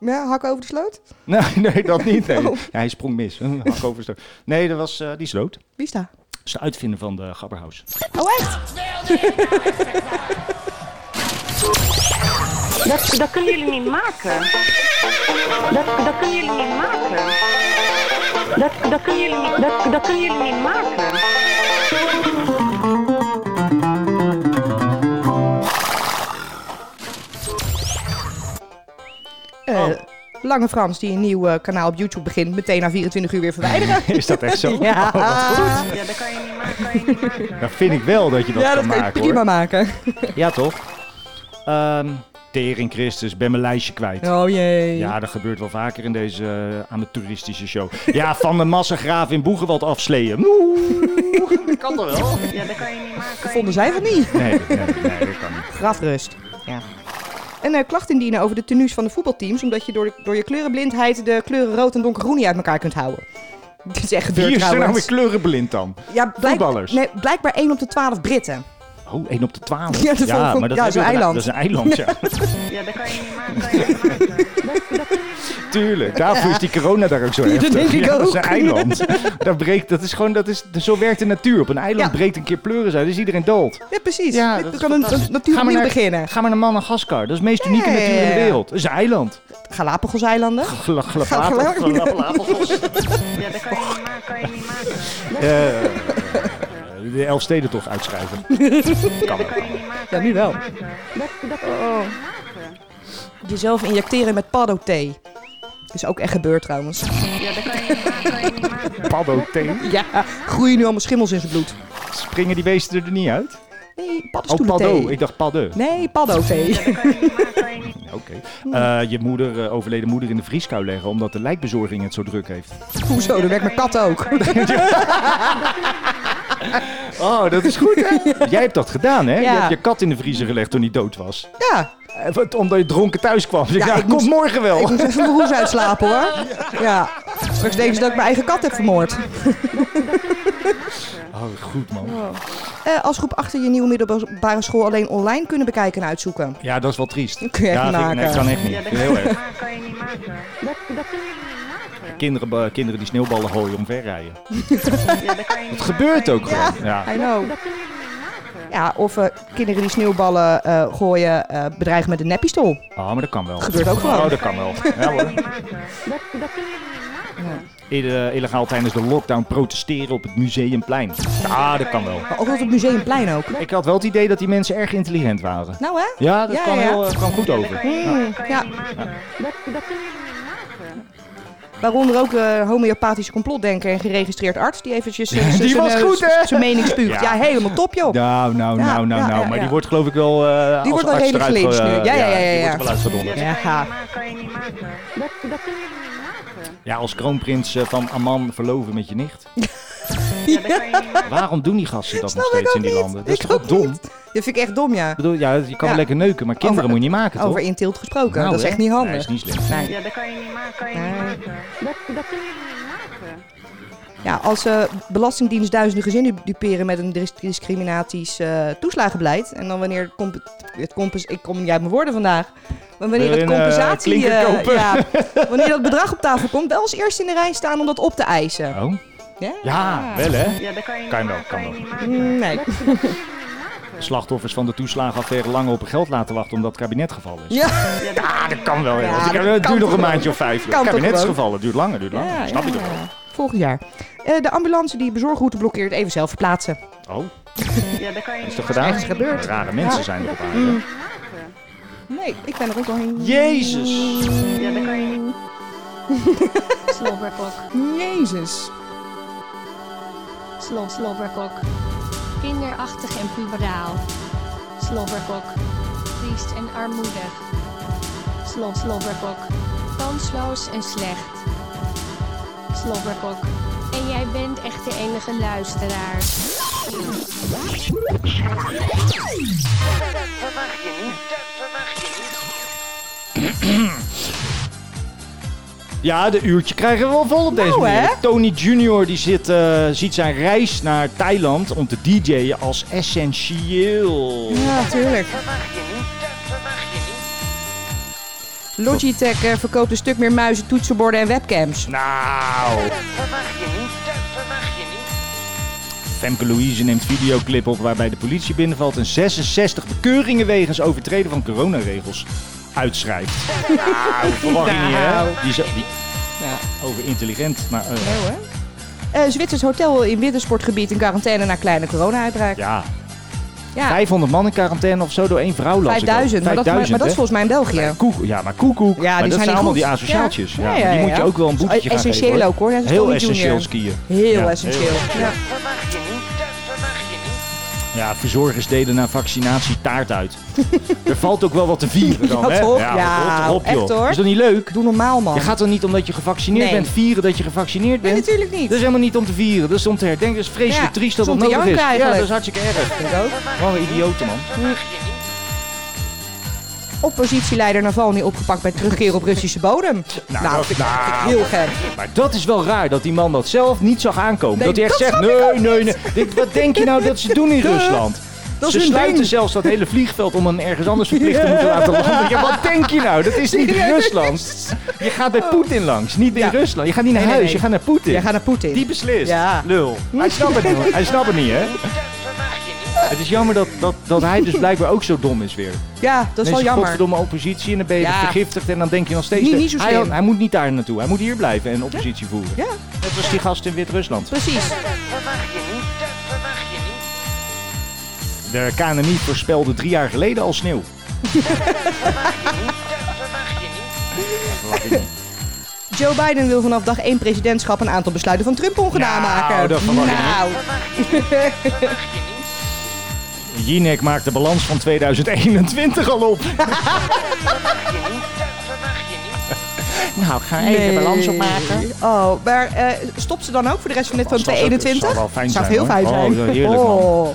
C: Ja, hak over de sloot?
B: Nee, nee dat niet. Nee.
C: Oh.
B: Ja, hij sprong mis. Hm, Hakke over is dood. Nee, dat was, eh, die is dood. Dat
C: Wie is daar?
B: is de uitvinder van de Gabberhaus.
C: Oh, echt?
J: Dat, dat kunnen jullie niet maken. Dat, dat kunnen jullie niet maken. Dat, dat, kunnen jullie, niet- dat, dat kunnen jullie niet maken.
C: Eh,
B: Oh.
C: Lange Frans, die een nieuw eh, kanaal op YouTube begint, meteen na 24 uur weer verwijderen.
B: Is dat echt zo? Oh,
C: Ja.
J: Ja, dat kan je niet maken. Kan je niet maken.
B: Dat vind ik wel dat je dat
C: ja,
B: kan
C: dat kan je
B: maken, hoor.
C: prima maken.
B: Ja, toch? Ehm tering Christus, ben mijn lijstje kwijt. Ja.
C: Oh jee.
B: dat gebeurt wel vaker in deze eh, amateuristische show. Ja, van de massagraaf in Boegenwald afsleeën. Oeh, dat kan toch wel?
J: Ja, dat kan je niet maken. kan je
C: Vonden zij van niet?
B: Nee, nee, nee, dat kan niet.
C: Grafrust. Ja. En eh, klacht indienen over de tenues van de voetbalteams, omdat je door, de- door je kleurenblindheid de kleuren rood en donkergroen niet uit elkaar kunt houden. Dit is echt gebeurd
B: Wie is er nou weer
C: trouwens.
B: kleurenblind dan?
C: ja, blijk-
B: voetballers?
C: Nee, blijkbaar 1 op de 12 Britten.
B: Oh, 1 op de 12.
C: Ja, dat is wel-
B: maar dat
C: ja,
B: is
C: zo'n
B: ook een-
C: eiland.
B: Dat is een eiland, ja.
J: niet- Ja, dat kan je niet maken. Kan je niet maken. Dat, dat kunnen jullie
B: Tuurlijk. Daarvoor is die corona daar ook zo heftig.
C: denk ik
B: Ja, Dat is een
C: ook.
B: eiland. Dat breekt, dat is gewoon, dat is, zo werkt de natuur. Op een eiland
C: Ja.
B: breekt een keer pleuris uit, is iedereen dood.
C: Ja, precies.
B: Ja,
C: Dit-
B: dat
C: we
B: is
C: kan een, een natuur
B: Ga maar
C: opnieuw
B: naar-
C: beginnen.
B: Ga maar naar Madagaskar. Dat is het meest unieke
C: Ja, ja,
B: natuur in de
C: ja.
B: wereld. Dat is een eiland.
C: Galapagoseilanden.
B: Gla- glapatels,
C: Gla- gla-
B: glapatels.
J: niet- Ja, dat kan je niet maken. Kan je niet maken.
B: Eh, De Elfsteden toch uitschrijven.
J: Ja, dat kan je niet maken.
C: Ja,
J: kan
C: nu
J: je
C: wel.
J: niet maken. Dat, dat kunnen jullie niet maken.
C: Jezelf injecteren met paddo-thee. Is ook echt gebeurd trouwens.
J: Ja, dat kan je niet maken, kan je niet maken.
B: Paddo thee.
C: Ja, groeien nu allemaal schimmels in zijn bloed.
B: Springen die beesten er niet uit?
C: Nee,
B: Oh,
C: paddenstoelen
B: paddo. Ik dacht padde.
C: Nee, paddo thee.
B: Oké. Eh, je moeder, eh, overleden moeder in de vrieskou leggen omdat de lijkbezorging het zo druk heeft.
C: Hoezo, dat werkt mijn kat ook.
B: Oh, dat is goed hè? Jij hebt dat gedaan hè?
C: Ja.
B: Je hebt je kat in de vriezer gelegd toen hij dood was.
C: Ja,
B: Eh, wat, omdat je dronken thuis kwam. Ja,
C: Ja,
B: nou,
C: ik
B: kom
C: moest-
B: morgen wel.
C: ik moest even mijn hoes uitslapen hoor. Ja. Straks denken ze dat ik mijn eigen kat heb vermoord.
B: Oh, goed man.
C: Eh, als groep achter je nieuwe middelbare school alleen online kunnen bekijken en uitzoeken.
B: Ja, dat is wel triest.
C: Dat kun je echt
B: ja,
C: niet
B: dat-
C: maken.
B: Nee, dat kan echt niet.
J: Ja, dat kan je
B: Heel
J: niet
B: erg.
J: maken, kan je niet maken. Dat, dat kunnen jullie niet maken.
B: Kinderen, eh, kinderen die sneeuwballen gooien omverrijden.
J: Ja, dat kan je niet
B: Het gebeurt
J: maken.
B: ook gewoon. Ja.
C: I know.
J: Dat kunnen jullie niet maken.
C: Ja, of eh, kinderen die sneeuwballen eh, gooien, eh, bedreigen met een neppistool.
B: Oh, maar dat kan wel.
C: Gebeurt ook gewoon.
B: Oh, dat kan wel. Ja,
J: Kan je
B: hoor.
J: niet maken. Dat, dat kunnen jullie niet maken.
B: Ieder- eh, Illegaal tijdens de lockdown protesteren op het museumplein. Ah, dat kan wel.
C: Maar ook op het museumplein ook.
B: Ik had wel het idee dat die mensen erg intelligent waren.
C: Nou hè?
B: Ja, dat
C: Ja,
B: kwam,
C: ja.
B: Heel, eh, kwam goed over.
C: Hmm,
J: Kan je
C: ja.
J: niet maken. Dat, dat kunnen jullie niet maken.
C: Waaronder ook eh homeopathische complotdenker en geregistreerd arts. Die eventjes eh, z-
B: Die
C: zijn,
B: was
C: eh,
B: goed,
C: z-
B: hè?
C: zijn mening spuugt.
B: Ja.
C: Ja. helemaal top joh.
B: Nou, nou,
C: Ja,
B: nou, nou,
C: ja,
B: nou.
C: ja,
B: Maar die
C: ja.
B: wordt geloof ik wel eh als
C: wordt wel
B: arts
C: redelijk
B: eruit
C: gelinched
B: ge-
C: nu. Ja, ja, ja,
B: Die
C: ja,
B: wordt
C: ja.
B: er wel uitgedonderd.
C: Ja.
J: Dat kan je niet maken. Dat, dat kunnen jullie niet maken.
B: Ja, als kroonprins eh, van Amman verloven met je nicht.
J: Ja, dat kan je niet maken.
B: Waarom doen die gasten dat
C: Snap
B: nog
C: ik
B: steeds
C: ook
B: in die
C: niet.
B: landen? Dat is
C: Ik
B: toch
C: ook
B: dom?
C: niet. Dat vind ik echt dom ja.
B: Ik bedoel, ja, je kan
C: Ja.
B: wel lekker neuken, maar kinderen
C: Over-
B: moet je niet maken, toch?
C: Over intilt gesproken.
B: Nou,
C: dat is
B: hè?
C: echt niet
B: Nee,
C: handig.
B: is niet slim.
C: Nee.
J: Ja, dat kan je niet maken. Kan je niet maken. Dat, dat kunnen jullie niet maken.
C: Ja, als eh, Belastingdienst duizenden gezinnen duperen met een dis- discriminatisch eh, toeslagenbeleid. En dan wanneer het, comp- het compens- ik kom niet uit mijn woorden vandaag. Maar wanneer
B: Wil
C: het
B: je een, eh,
C: compensatie.
B: klinker
C: eh,
B: kopen?
C: ja, wanneer dat bedrag op tafel komt, wel als eerste in de rij staan om dat op te eisen.
B: Oh?
C: Ja?
B: Ja, wel hè?
J: Ja, dat kan je niet
B: Kan je wel,
J: maken.
B: kan
J: je
B: wel.
J: niet maken.
C: Mm, Nee.
B: Slachtoffers van de toeslagenaffaire lang op hun geld laten wachten omdat het kabinet gevallen is.
C: Ja,
B: Ja, dat kan wel. joh.
C: Ja,
B: Het
C: dat
B: duurt
C: kan
B: nog
C: toch
B: een maandje of vijf. joh.
C: Kan toch
B: kabinet is
C: gewoon?
B: gevallen. Duurt langer, duurt langer.
C: Ja,
B: Snap je
C: ja.
B: toch
C: volgend jaar. Eh, de ambulance die bezorgroute blokkeert, even zelf verplaatsen.
B: wel? Oh,
J: Ja, dat kan je
B: is
J: niet
B: toch
J: maken.
B: gedaan?
C: echt gebeurd.
B: Rare mensen zijn er op aarde.
C: Nee, ik ben er ook al heen.
B: Jezus.
J: Ja, dat kan je niet
H: Slobberkok.
C: Jezus.
H: Slob slobberkok. Kinderachtig en puberaal. Slobberkok. Triest en armoedig. Slob slobberkok. Kansloos en slecht. Slobberkok. En jij bent echt de enige luisteraar.
B: Ja, de uurtje krijgen we wel vol op deze
C: Nou,
B: manier.
C: hè?
B: Tony Junior die zit, eh, ziet zijn reis naar Thailand om te DJ'en als essentieel.
C: Ja, tuurlijk. Logitech eh, verkoopt een stuk meer muizen, toetsenborden en webcams.
B: Nou. Femke Louise neemt videoclip op waarbij de politie binnenvalt en 66 bekeuringen wegens overtreden van coronaregels uitschrijft. Nou, verwacht je niet, hè? Die, zo- die, Over intelligent, maar eh,
C: Nou, hè? Eh, Zwitsers hotel in wintersportgebied in quarantaine na kleine corona-uitbraak.
B: ja.
C: Ja,
B: 500 man in quarantaine of zo door één vrouw las ik al.
C: 5000. Maar, dat, maar, maar dat is volgens mij in België.
B: Ja, koekoek. Ja, maar koekoek.
C: Ja,
B: maar
C: die zijn
B: dat zijn
C: niet
B: allemaal
C: goed.
B: die asociaaltjes. Ja.
C: Ja. Ja, ja,
B: Die
C: ja,
B: moet je
C: ja.
B: ook wel een boekje gaan
C: Essentieel
B: geven. hoor.
C: ook, hoor. Dat is
B: Heel
C: Tony
B: essentieel
C: Junior.
B: skiën.
C: Heel
B: Ja,
C: essentieel. Ja.
B: Ja, verzorgers deden na vaccinatie taart uit. er valt ook wel wat te vieren dan,
C: Ja,
B: hè?
C: toch?
B: wat
C: Ja,
B: rot op, joh.
C: echt, hoor.
B: Is dat niet leuk?
C: Doe normaal, man.
B: Je gaat dan niet omdat je gevaccineerd
C: Nee.
B: bent vieren dat je gevaccineerd
C: Nee,
B: bent?
C: natuurlijk niet.
B: dat is helemaal niet om te vieren, dat is om te herdenken. Dat is vreselijk
C: Ja,
B: triest dat
C: het
B: dat
C: is om te
B: nodig is.
C: janken
B: Ja, dat
C: eigenlijk.
B: is hartstikke erg.
C: Ik ook.
B: Gewoon een idioten, man.
C: Oppositieleider Navalny opgepakt bij terugkeer op Russische bodem. Nou,
B: dat-
C: vind ik,
B: nou.
C: vind ik heel gek.
B: Maar dat is wel raar dat die man dat zelf niet zag aankomen.
C: Nee,
B: dat hij echt
C: dat
B: zegt:
C: snap ik
B: nee,
C: ook
B: nee, nee.
C: niet."
B: Dit- wat denk je nou dat ze doen in
C: Duh.
B: Rusland?
C: Dat
B: ze
C: is hun
B: sluiten
C: ding.
B: zelfs dat hele vliegveld om een ergens anders verplicht te moeten laten landen. Ja, wat denk je nou? Dat is niet Rusland. Je gaat bij Poetin langs, niet in
C: Ja.
B: Rusland. Je gaat niet naar
C: Nee, nee,
B: huis,
C: nee.
B: je gaat naar Poetin.
C: Jij gaat naar Poetin.
B: Die beslist.
C: Ja.
B: Lul. Hij snapt het niet. Hij snapt het niet, hè? Het is jammer dat, dat, dat hij dus blijkbar ook zo dom is weer.
C: Ja, dat is wel
B: Mensen,
C: jammer.
B: godverdomme oppositie en dan ben je
C: Ja.
B: vergiftigd en dan denk je nog steeds...
C: Niet-
B: dat-
C: niet zo
B: hij,
C: slim.
B: hij moet niet daar naartoe, hij moet hier blijven en oppositie voeren.
C: Ja,
B: Net als die gast in Wit-Rusland.
C: precies.
B: De KNMI voorspelde drie jaar geleden al sneeuw.
C: Joe Biden wil vanaf dag 1 presidentschap een aantal besluiten van Trump ongedaan
B: Nou,
C: maken.
B: dat verwacht ik niet.
C: nou.
B: Jinek maakt de balans van 2021 al op. Nou, ik ga even
C: Nee.
B: de balans opmaken.
C: Oh, maar eh, stopt ze dan ook voor de rest van dit van
B: Was dat ook-
C: 2021?
B: zou wel fijn
C: Zou
B: zijn,
C: heel
B: hoor.
C: fijn
B: Oh,
C: zijn.
B: dat is heerlijk, man.
C: Oh.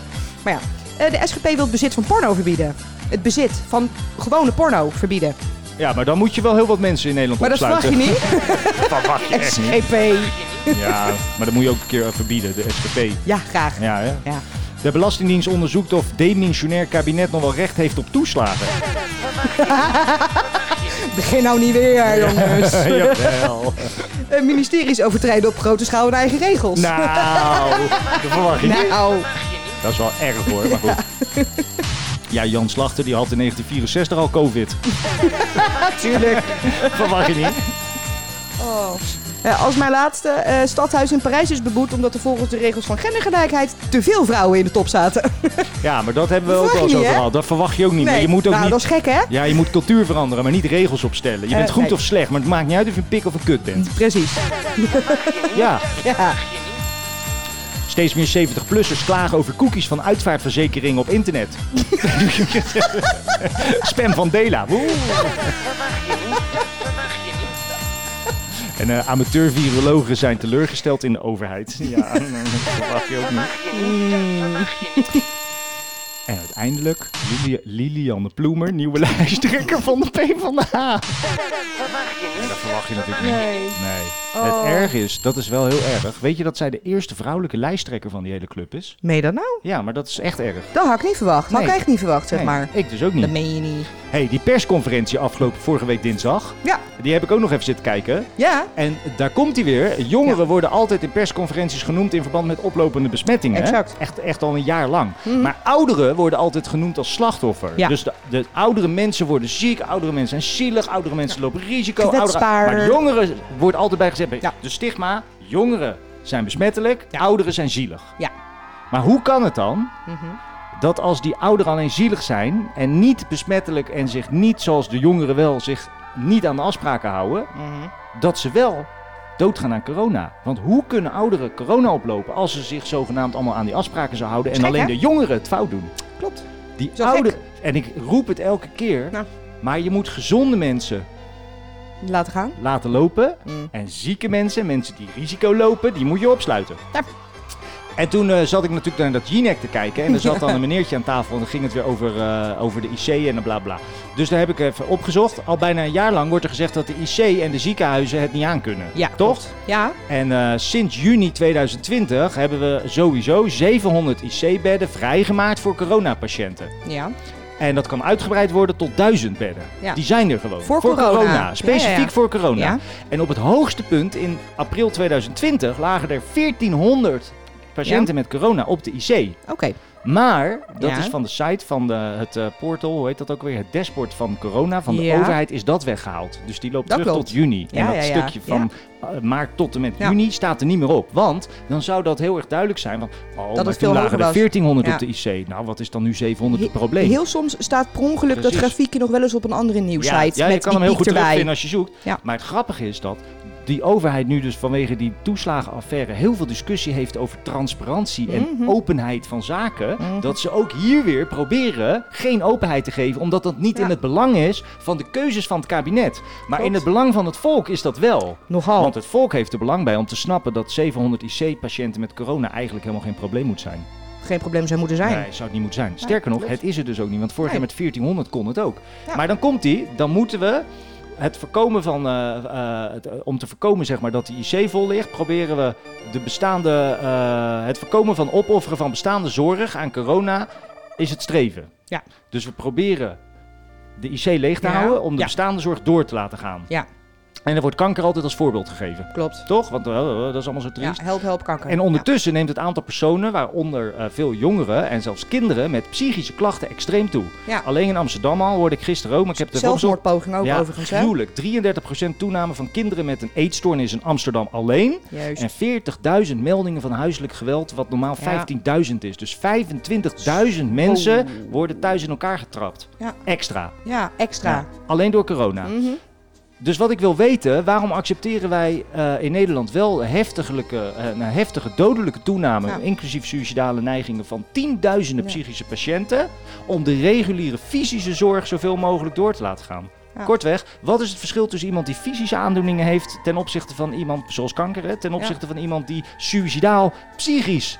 C: Maar ja, eh, de SGP wil het bezit van porno verbieden. Het bezit van gewone porno verbieden.
B: Ja, maar dan moet je wel heel wat mensen in Nederland
C: Maar dat verwacht je
B: opsluiten.
C: niet.
B: Dat verwacht je echt niet.
C: SGP.
B: Ja, maar dat moet je ook een keer verbieden, de SGP.
C: Ja, graag.
B: Ja, hè?
C: Ja.
B: De Belastingdienst onderzoekt of demissionair kabinet nog wel recht heeft op toeslagen.
C: Begin nou niet weer, jongens.
B: Jawel.
C: Eh, ministeries overtreden op grote schaal hun eigen regels.
B: Nou, dat verwacht je niet.
C: Nou,
B: Dat is wel erg hoor, maar goed. Ja, Jan Slachter die had in 1964 al COVID.
C: natuurlijk.
B: Verwacht je niet?
C: Eh, als mijn laatste, eh, stadhuis in Parijs is beboet omdat er volgens de regels van gendergelijkheid te veel vrouwen in de top zaten.
B: Ja, maar dat hebben we
C: Dat
B: ook al
C: verwacht je
B: zo
C: niet, hè?
B: gehad. Dat verwacht je ook niet. Maar je moet ook
C: nou,
B: niet...
C: dat is gek, hè?
B: Ja, je moet cultuur veranderen, maar niet regels opstellen. Je bent
C: Eh,
B: goed
C: nee.
B: of slecht, maar het maakt niet uit of je een pik of een kut bent.
C: Precies.
B: Ja.
C: Ja.
B: Steeds meer 70-plussers klagen over cookies van uitvaartverzekeringen op internet. Spam van Dela. Woe. En eh amateur-virologen zijn teleurgesteld in de overheid. Ja, dat verwacht je ook niet. En uiteindelijk Lili- Lilianne Ploemer, nieuwe lijsttrekker van de PvdA. Ja, dat verwacht je natuurlijk niet.
C: Nee.
B: Nee.
C: Oh.
B: Het erg is, dat is wel heel erg. Weet je dat zij de eerste vrouwelijke lijsttrekker van die hele club is?
C: Meen je dat nou?
B: Ja, maar dat is echt erg.
C: Dat had ik niet verwacht. Dat had ik
B: Nee.
C: echt niet verwacht, zeg
B: Nee,
C: maar.
B: Ik dus ook
C: Dat
B: niet.
C: meen je niet.
B: hey, die persconferentie afgelopen vorige week dinsdag.
C: Ja.
B: Die heb ik ook nog even zitten kijken.
C: Ja,
B: En daar komt hij weer. Jongeren worden altijd in persconferenties genoemd in verband met oplopende besmettingen. hè?
C: Exact. Mhm.
B: Echt, echt al een jaar lang. Maar ouderen worden altijd genoemd als slachtoffer.
C: Ja.
B: Dus de, de oudere mensen worden ziek, oudere mensen zijn zielig, oudere mensen lopen risico. Oudere,
C: Kwetsbaar.
B: maar jongeren wordt altijd bij gezegd.
C: Ja.
B: De stigma, jongeren zijn besmettelijk, ouderen zijn zielig.
C: Ja. Mhm.
B: Maar hoe kan het dan dat als die ouderen alleen zielig zijn en niet besmettelijk en zich niet zoals de jongeren wel zich niet aan de afspraken houden,
C: Mhm.
B: dat ze wel doodgaan aan corona. Want hoe kunnen ouderen corona oplopen als ze zich zogenaamd allemaal aan die afspraken zouden houden en
C: Is gek,
B: alleen
C: hè?
B: de jongeren het fout doen?
C: klopt.
B: Die
C: Zo gek.
B: ouderen, en ik roep het elke keer,
C: Nou.
B: maar je moet gezonde mensen
C: Laten gaan.
B: laten lopen
C: Mm.
B: en zieke mensen, mensen die risico lopen, die moet je opsluiten.
C: Ja.
B: En toen eh, zat ik natuurlijk naar dat Jinek te kijken. En er zat dan een meneertje aan tafel. En dan ging het weer over, eh, over de IC en de bla bla. Dus daar heb ik even opgezocht. Al bijna een jaar lang wordt er gezegd dat de IC en de ziekenhuizen het niet aankunnen.
C: Ja,
B: Toch?
C: Ja,
B: En eh, sinds juni 2020 hebben we sowieso 700 IC-bedden vrijgemaakt voor coronapatiënten.
C: ja.
B: En dat kan uitgebreid worden tot 1000 bedden.
C: Ja.
B: Die zijn er gewoon.
C: Voor corona.
B: Specifiek
C: Ja, ja, ja.
B: voor corona.
C: Ja.
B: En op het hoogste punt in april 2020 lagen er 1400 patiënten met corona op de IC.
C: Oké.
B: Maar dat
C: Ja.
B: is van de site van de, het eh, portal, hoe heet dat ook weer? Het dashboard van corona van de
C: Ja.
B: overheid is dat weggehaald. Dus die loopt
C: Dat
B: terug
C: klopt.
B: tot juni.
C: Ja,
B: en dat
C: ja, ja.
B: stukje van eh, maart tot en met
C: Ja.
B: juni staat er niet meer op. Want dan zou dat heel erg duidelijk zijn. Want, oh, maar
C: het
B: toen
C: veel
B: lagen
C: hoger
B: er
C: was.
B: 1400
C: Ja.
B: op de IC. Nou, wat is dan nu 700 het
C: He-
B: probleem?
C: Heel soms staat per ongeluk
B: Precies.
C: dat grafiekje nog wel eens op een andere nieuwssite.
B: Ja, ja, je
C: met
B: kan
C: die
B: hem heel goed
C: piek erbij.
B: terugvinden als je zoekt.
C: Ja.
B: Maar het grappige is dat die overheid nu dus vanwege die toeslagenaffaire heel veel discussie heeft over transparantie
C: Mhm.
B: en openheid van zaken. Dat ze ook hier weer proberen geen openheid te geven, omdat dat niet
C: Ja.
B: in het belang is van de keuzes van het kabinet. Maar
C: Klopt. Oh.
B: in het belang van het volk is dat wel.
C: Nogal.
B: Want het volk heeft er belang bij om te snappen dat 700 IC-patiënten met corona eigenlijk helemaal geen probleem moet zijn.
C: Geen probleem zou moeten zijn.
B: Nee, zou het niet moeten zijn. Sterker nog, het is er dus ook niet. Want vorig
C: Nee.
B: jaar met 1400 kon het ook.
C: Ja.
B: Maar dan komt die, dan moeten we het voorkomen van, eh, eh, het, eh, om te voorkomen zeg maar, dat de IC vol ligt, proberen we de bestaande, eh, het voorkomen van opofferen van bestaande zorg aan corona is het streven.
C: Ja.
B: Dus we proberen de IC leeg te
C: Ja.
B: houden om de
C: Ja.
B: bestaande zorg door te laten gaan.
C: Ja.
B: En er wordt kanker altijd als voorbeeld gegeven.
C: Klopt.
B: Toch? Want eh, dat is allemaal zo
C: Ja,
B: triest.
C: help, help, kanker.
B: En ondertussen neemt het aantal personen, waaronder eh, veel jongeren en zelfs kinderen met psychische klachten, extreem toe.
C: Ja.
B: Alleen in Amsterdam al hoorde ik gisteren ook, maar ik heb
C: ja.
B: de
C: Zelfmoordpoging ook
B: ja,
C: overigens. hè?
B: gruwelijk. 33% toename van kinderen met een eetstoornis in Amsterdam alleen.
C: Juist.
B: En 40.000 meldingen van huiselijk geweld, wat normaal
C: Ja.
B: 15.000 is. Dus 25.000 mensen worden thuis in elkaar getrapt.
C: Ja. Mm.
B: Extra.
C: Ja, extra. Mhm.
B: Ja, alleen door corona. Dus wat ik wil weten, waarom accepteren wij eh, in Nederland wel heftigelijke, eh, nou, heftige dodelijke toename,
C: Ja.
B: inclusief suïcidale neigingen van tienduizenden psychische patiënten, om de reguliere fysische zorg zoveel mogelijk door te laten gaan?
C: Ja.
B: Kortweg, wat is het verschil tussen iemand die fysische aandoeningen heeft ten opzichte van iemand zoals kanker, hè, ten opzichte van iemand die suïcidaal psychisch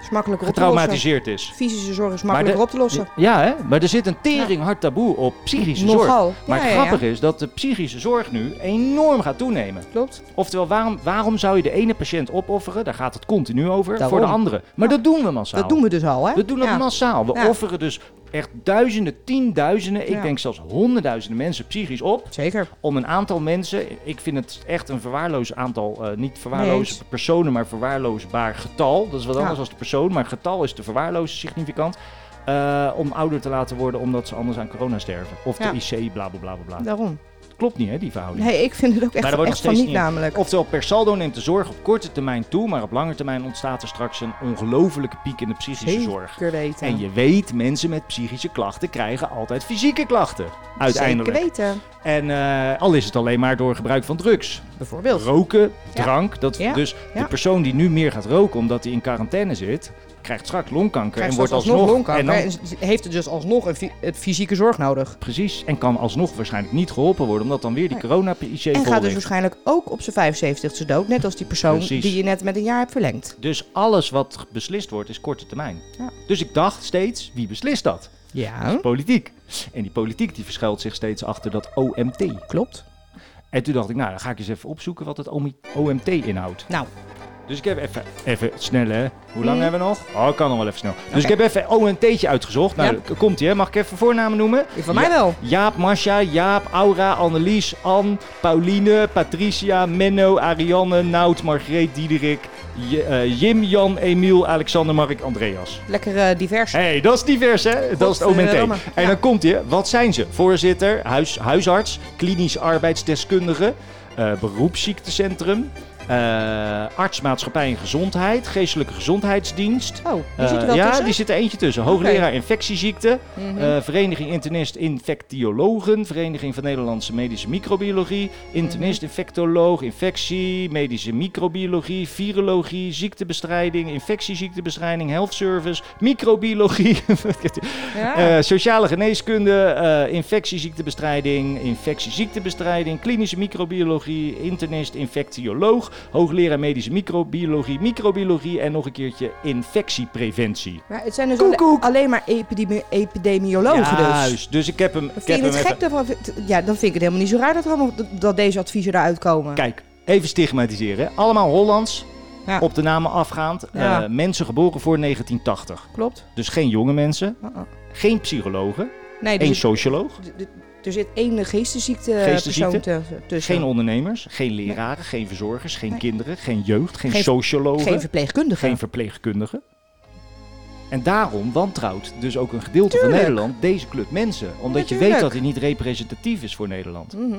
C: is makkelijker op te lossen.
B: getraumatiseerd is?
C: Fysische zorg is
B: Maar
C: makkelijker
B: de-
C: op te lossen.
B: Ja, hè? maar er zit een tering hard taboe op psychische zorg.
C: Nogal.
B: Maar
C: Ja,
B: het
C: ja,
B: grappige
C: ja.
B: is dat de psychische zorg nu enorm gaat toenemen.
C: Klopt.
B: Oftewel, waarom, waarom zou je de ene patiënt opofferen? Daar gaat het continu over.
C: Daarom.
B: Voor de andere. Maar dat doen we massaal.
C: Dat doen we dus al, hè?
B: We doen Nou. dat
C: Ja.
B: massaal. We
C: Ja.
B: offeren dus echt duizenden, tienduizenden, ik
C: Ja.
B: denk zelfs honderdduizenden mensen psychisch op.
C: Zeker.
B: Om een aantal mensen, ik vind het echt een verwaarloos aantal, eh, niet verwaarloosde
C: Nee.
B: personen, maar verwaarloosbaar getal. Dat is wat
C: Ja.
B: anders dan de persoon, maar getal is te verwaarlozen significant. eh, om ouder te laten worden omdat ze anders aan corona sterven. Of
C: Ja.
B: de IC, bla bla bla bla. bla.
C: Daarom.
B: Klopt niet, hè, die verhouding.
C: Nee, ik vind het ook
B: Maar
C: echt,
B: daar wordt
C: echt
B: nog
C: van
B: steeds
C: niet,
B: niet-
C: namelijk.
B: Oftewel, per saldo neemt de zorg op korte termijn toe, maar op lange termijn ontstaat er straks een ongelofelijke piek in de psychische zorg.
C: Zeker weten.
B: En je weet, mensen met psychische klachten krijgen altijd fysieke klachten. Uiteindelijk.
C: Zeker weten.
B: En eh, al is het alleen maar door gebruik van drugs.
C: Bijvoorbeeld.
B: Roken,
C: Ja.
B: drank. Dat,
C: Ja.
B: Dus
C: Ja.
B: de persoon die nu meer gaat roken omdat hij in quarantaine zit, krijgt straks longkanker
C: Krijgt
B: en wordt
C: straks
B: alsnog.
C: longkanker
B: en dan-
C: en z- heeft het dus alsnog een fy- het fysieke zorg nodig.
B: precies. En kan alsnog waarschijnlijk niet geholpen worden omdat dan weer die
C: Nee.
B: corona-IC vol
C: En gaat dus
B: ligt.
C: waarschijnlijk ook op zijn 75ste dood. Net als die persoon
B: Precies.
C: die je net met een jaar hebt verlengd.
B: Dus alles wat beslist wordt is korte termijn.
C: Ja.
B: Dus ik dacht steeds, wie beslist dat?
C: Ja,
B: Politiek. En die politiek die verschuilt zich steeds achter dat OMT.
C: klopt.
B: En toen dacht ik, nou dan ga ik eens even opzoeken wat het OMI OMT inhoudt.
C: Nou,
B: Dus ik heb even, even snel hè. Hoe lang
C: Mm.
B: hebben we nog? Oh, ik kan nog wel even snel. Dus ik
C: Oké.
B: heb even OMT'tje uitgezocht. Nou,
C: Ja.
B: k- komt ie hè. Mag ik even voornamen noemen?
C: van mij wel.
B: Jaap, Masha, Jaap, Aura, Annelies, Ann, Pauline, Patricia, Menno, Ariane, Nout, Margreet, Diederik, J- eh, Jim, Jan, Emiel, Alexander, Mark, Andreas.
C: Lekker eh, divers.
B: Hé, hey, dat is divers, hè? Dat is het OMT.
C: Godverdamme.
B: En
C: Ja.
B: dan komt hij. Wat zijn ze? Voorzitter, huis, huisarts, klinisch arbeidsdeskundige, eh, beroepsziektecentrum, eh, artsmaatschappij en gezondheid, geestelijke gezondheidsdienst.
C: Oh, die zit er wel
B: Eh, ja,
C: tussen?
B: die zit er eentje tussen. Hoogleraar infectieziekten,
C: Mhm.
B: eh, Vereniging Internist Infectiologen, Vereniging van Nederlandse Medische Microbiologie, Internist
C: Mhm.
B: Infectoloog, Infectie, Medische Microbiologie, Virologie, Ziektebestrijding, Infectieziektebestrijding, Health Service, Microbiologie,
C: ja.
B: eh, Sociale Geneeskunde, eh Infectieziektebestrijding, Infectieziektebestrijding, Klinische Microbiologie, Internist Infectioloog, Hoogleraar Medische Microbiologie, Microbiologie en nog een keertje Infectiepreventie.
C: maar het zijn dus
B: Koek,
C: alle-
B: koek.
C: alleen maar epidemi- epidemiologen dus.
B: Juist, dus ik heb hem. Ik
C: Vind
B: heb
C: je
B: hem
C: het
B: even,
C: gek daarvan? Ja, dan vind ik het helemaal niet zo raar dat, er allemaal, dat deze adviezen eruit komen.
B: Kijk, even stigmatiseren. hè. Allemaal Hollands,
C: Ja.
B: op de namen afgaand.
C: Ja.
B: Eh, mensen geboren voor 1980.
C: Klopt.
B: Dus geen jonge mensen,
C: Uh-uh.
B: geen psychologen,
C: Nee, er
B: geen
C: zit,
B: socioloog,
C: d- d- er zit één geestesziekte eh,
B: Geestesziekte?
C: persoon tussen. tussen.
B: geen ondernemers, geen leraren, geen verzorgers, geen
C: Dus, eh, Nee.
B: kinderen, geen jeugd, geen,
C: Geen-
B: sociologen,
C: Geen
B: geen,
C: verpleegkundige.
B: verpleegkundigen. En daarom wantrouwt dus ook een gedeelte van
C: Tuurlijk.
B: Nederland deze club mensen. Omdat je weet
C: Natuurlijk.
B: dat hij niet representatief is voor Nederland.
C: Mhm.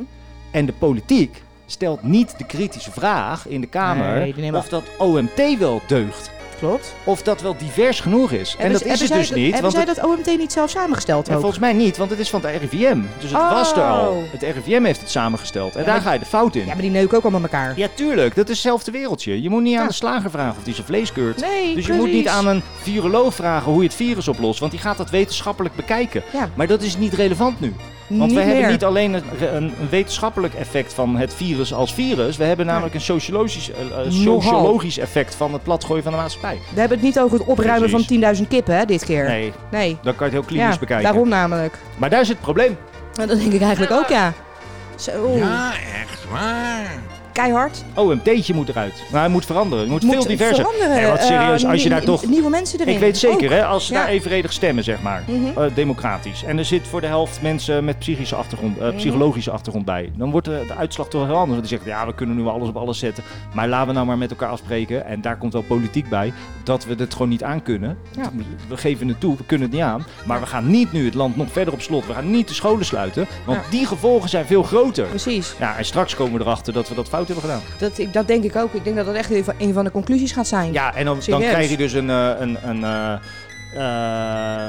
B: En de politiek stelt niet de kritische vraag in de Kamer
C: Nee, die nemen-
B: of dat OMT wel deugt.
C: Klopt.
B: Of dat wel divers genoeg is. En,
C: Hebben
B: dat
C: ze-
B: is het
C: hebben
B: dus
C: zij-
B: niet.
C: Hebben
B: Want
C: zij
B: het,
C: dat OMT niet zelf samengesteld
B: en
C: ook?
B: volgens mij niet, want het is van het RIVM. Dus het was er al.
C: Oh.
B: Het RIVM heeft het samengesteld. En
C: Ja,
B: daar
C: maar-
B: ga je de fout in.
C: Ja,
B: Ja,
C: maar die neuken ook allemaal elkaar.
B: tuurlijk. Dat is hetzelfde wereldje. Je moet niet aan
C: Ja.
B: de slager vragen of die zijn vlees keurt.
C: Nee,
B: dus je moet niet aan een viroloog vragen hoe je het virus oplost. Want die gaat dat wetenschappelijk bekijken.
C: Ja.
B: Maar dat is niet relevant nu. Want
C: niet
B: we hebben
C: meer.
B: niet alleen een, een, een wetenschappelijk effect van het virus als virus. We hebben namelijk een sociologisch, eh, eh,
C: Nogal.
B: sociologisch effect van het platgooien van de maatschappij.
C: We hebben het niet over het opruimen
B: Precies.
C: van 10.000 kippen hè, dit keer.
B: Nee,
C: Nee.
B: dan kan je het heel klinisch
C: ja,
B: bekijken.
C: daarom namelijk.
B: Maar daar zit het probleem.
C: En dat denk ik eigenlijk ook, ja. Zo,
G: Ja, echt waar.
C: keihard.
B: OMT'tje Oh, moet eruit. Nou, hij moet veranderen. Het moet,
C: Moet
B: veel diverser.
C: veranderen.
B: Nee, wat serieus,
C: eh,
B: als je
C: nie-
B: daar toch...
C: Nieuwe mensen erin.
B: Ik weet zeker, hè, als ze
C: Ja.
B: daar evenredig stemmen, zeg maar,
C: Mhm.
B: eh, democratisch. En er zit voor de helft mensen met psychische achtergrond,
C: Mhm.
B: eh, psychologische achtergrond bij. Dan wordt de, de uitslag toch heel anders. Want die zeggen, ja, we kunnen nu alles op alles zetten. Maar laten we nou maar met elkaar afspreken. En daar komt wel politiek bij, dat we dit gewoon niet aan kunnen.
C: Ja.
B: We geven het toe, we kunnen het niet aan. Maar we gaan niet nu het land nog verder op slot. We gaan niet de scholen sluiten. Want
C: Ja.
B: die gevolgen zijn veel groter.
C: Precies.
B: Ja, en straks komen we erachter dat we dat fout hebben gedaan.
C: Dat, ik, dat denk ik ook. Ik denk dat dat echt een van- een van de conclusies gaat zijn.
B: Ja, en dan, dan
C: Serieus?
B: krijg je dus een, eh, een, een, eh,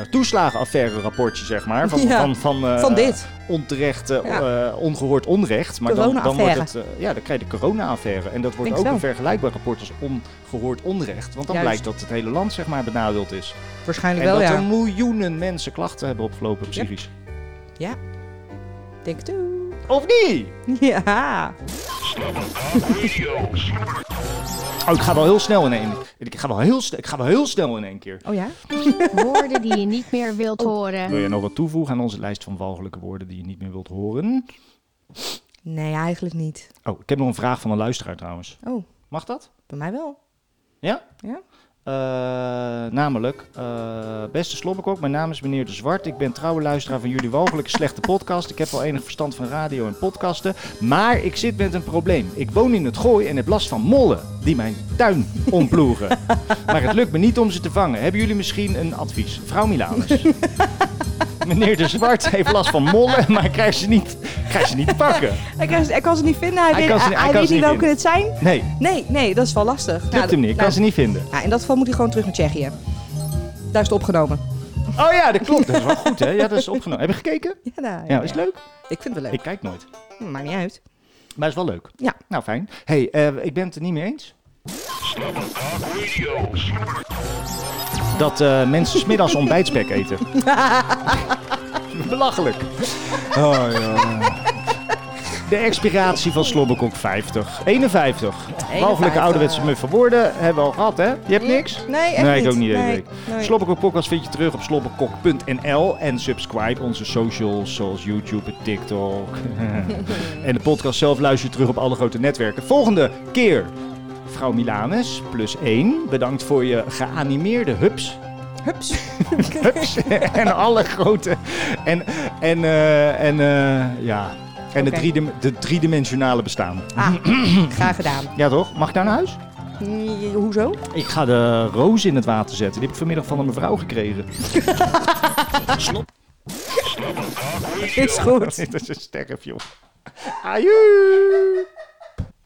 B: eh, toeslagenaffaire-rapportje, zeg maar. Van,
C: Ja,
B: van, van, eh,
C: van dit.
B: Onterecht, eh,
C: Ja.
B: eh, ongehoord onrecht. Maar dan, dan wordt
C: Corona-affaire.
B: het, eh, ja, dan krijg je de corona-affaire. En dat wordt
C: Denk
B: ook
C: zo.
B: een vergelijkbaar rapport als ongehoord onrecht. Want dan
C: Juist.
B: blijkt dat het hele land, zeg maar, benadeeld is.
C: Waarschijnlijk
B: en
C: wel,
B: dat
C: ja.
B: er miljoenen mensen klachten hebben opgelopen psychisch.
C: Ja. Denk het ook.
B: Of niet?
C: Ja.
B: Oh, ik ga wel heel snel in één. Ik ga wel heel, sne- ik ga wel heel snel in één keer.
C: Oh ja?
H: Woorden die je niet meer wilt
B: Wil
H: horen.
B: je nog wat toevoegen aan onze lijst van walgelijke woorden die je niet meer wilt horen?
C: Nee, eigenlijk niet.
B: Oh, ik heb nog een vraag van een luisteraar trouwens.
C: Oh,
B: Mag dat?
C: bij mij wel.
B: Ja?
C: Ja.
B: Eh, namelijk, eh, beste Slobberkok, mijn naam is meneer De Zwart. Ik ben trouwe luisteraar van jullie walgelijke slechte podcast. Ik heb wel enig verstand van radio en podcasten. Maar ik zit met een probleem. Ik woon in het gooi en heb last van mollen die mijn tuin omploegen. maar het lukt me niet om ze te vangen. Hebben jullie misschien een advies? Vrouw Milanus. meneer De Zwart heeft last van mollen, maar krijgt ze niet, krijgt ze niet te pakken.
C: Hij kan, hij kan ze niet vinden. Hij,
B: Hij
C: weet,
B: kan ze-
C: hij
B: hij kan
C: weet
B: ze
C: niet
B: niet
C: welke
B: vinden.
C: het zijn.
B: Nee,
C: Nee, nee, dat is wel lastig.
B: lukt hem niet.
C: nou,
B: Ik kan ze niet vinden.
C: Ja, in dat geval moet hij gewoon terug naar Tsjechië. Daar is het opgenomen.
B: Oh ja, dat klopt. Dat is wel goed, hè? Ja, dat is opgenomen. Heb je gekeken?
C: Ja, nou,
B: Ja, is het leuk?
C: Ik vind het wel leuk.
B: Ik kijk nooit.
C: Hm, Maakt niet uit.
B: Maar is wel leuk.
C: Ja.
B: Nou, fijn. hey, eh, ik ben het er niet mee eens. Dat eh, mensen smiddags ontbijtspek eten. Belachelijk. Oh, ja. De expiratie van Slobberkok 50. 51. Walgelijke ouderwetse muffe woorden hebben we al gehad, hè? Je hebt niks?
C: Nee, echt
B: nee,
C: niet.
B: ik ook niet.
C: Nee,
B: Nee.
C: nee.
B: Slobberkok podcast vind je terug op slobberkok.nl en subscribe onze socials zoals YouTube en TikTok. en de podcast zelf luister je terug op alle grote netwerken. Volgende keer vrouw Milanes plus 1. Bedankt voor je geanimeerde hubs.
C: Hups.
B: Hups. en alle grote. En, en, eh, en eh, ja. En
C: Oké.
B: het driedim de driedimensionale bestaan.
C: Graag gedaan.
B: Ja toch? Mag ik daar naar huis?
C: Hm, Hoezo?
B: Ik ga de roos in het water zetten. Die heb ik vanmiddag van een mevrouw gekregen.
C: Is goed.
B: Dit is een sterf, joh. Aju!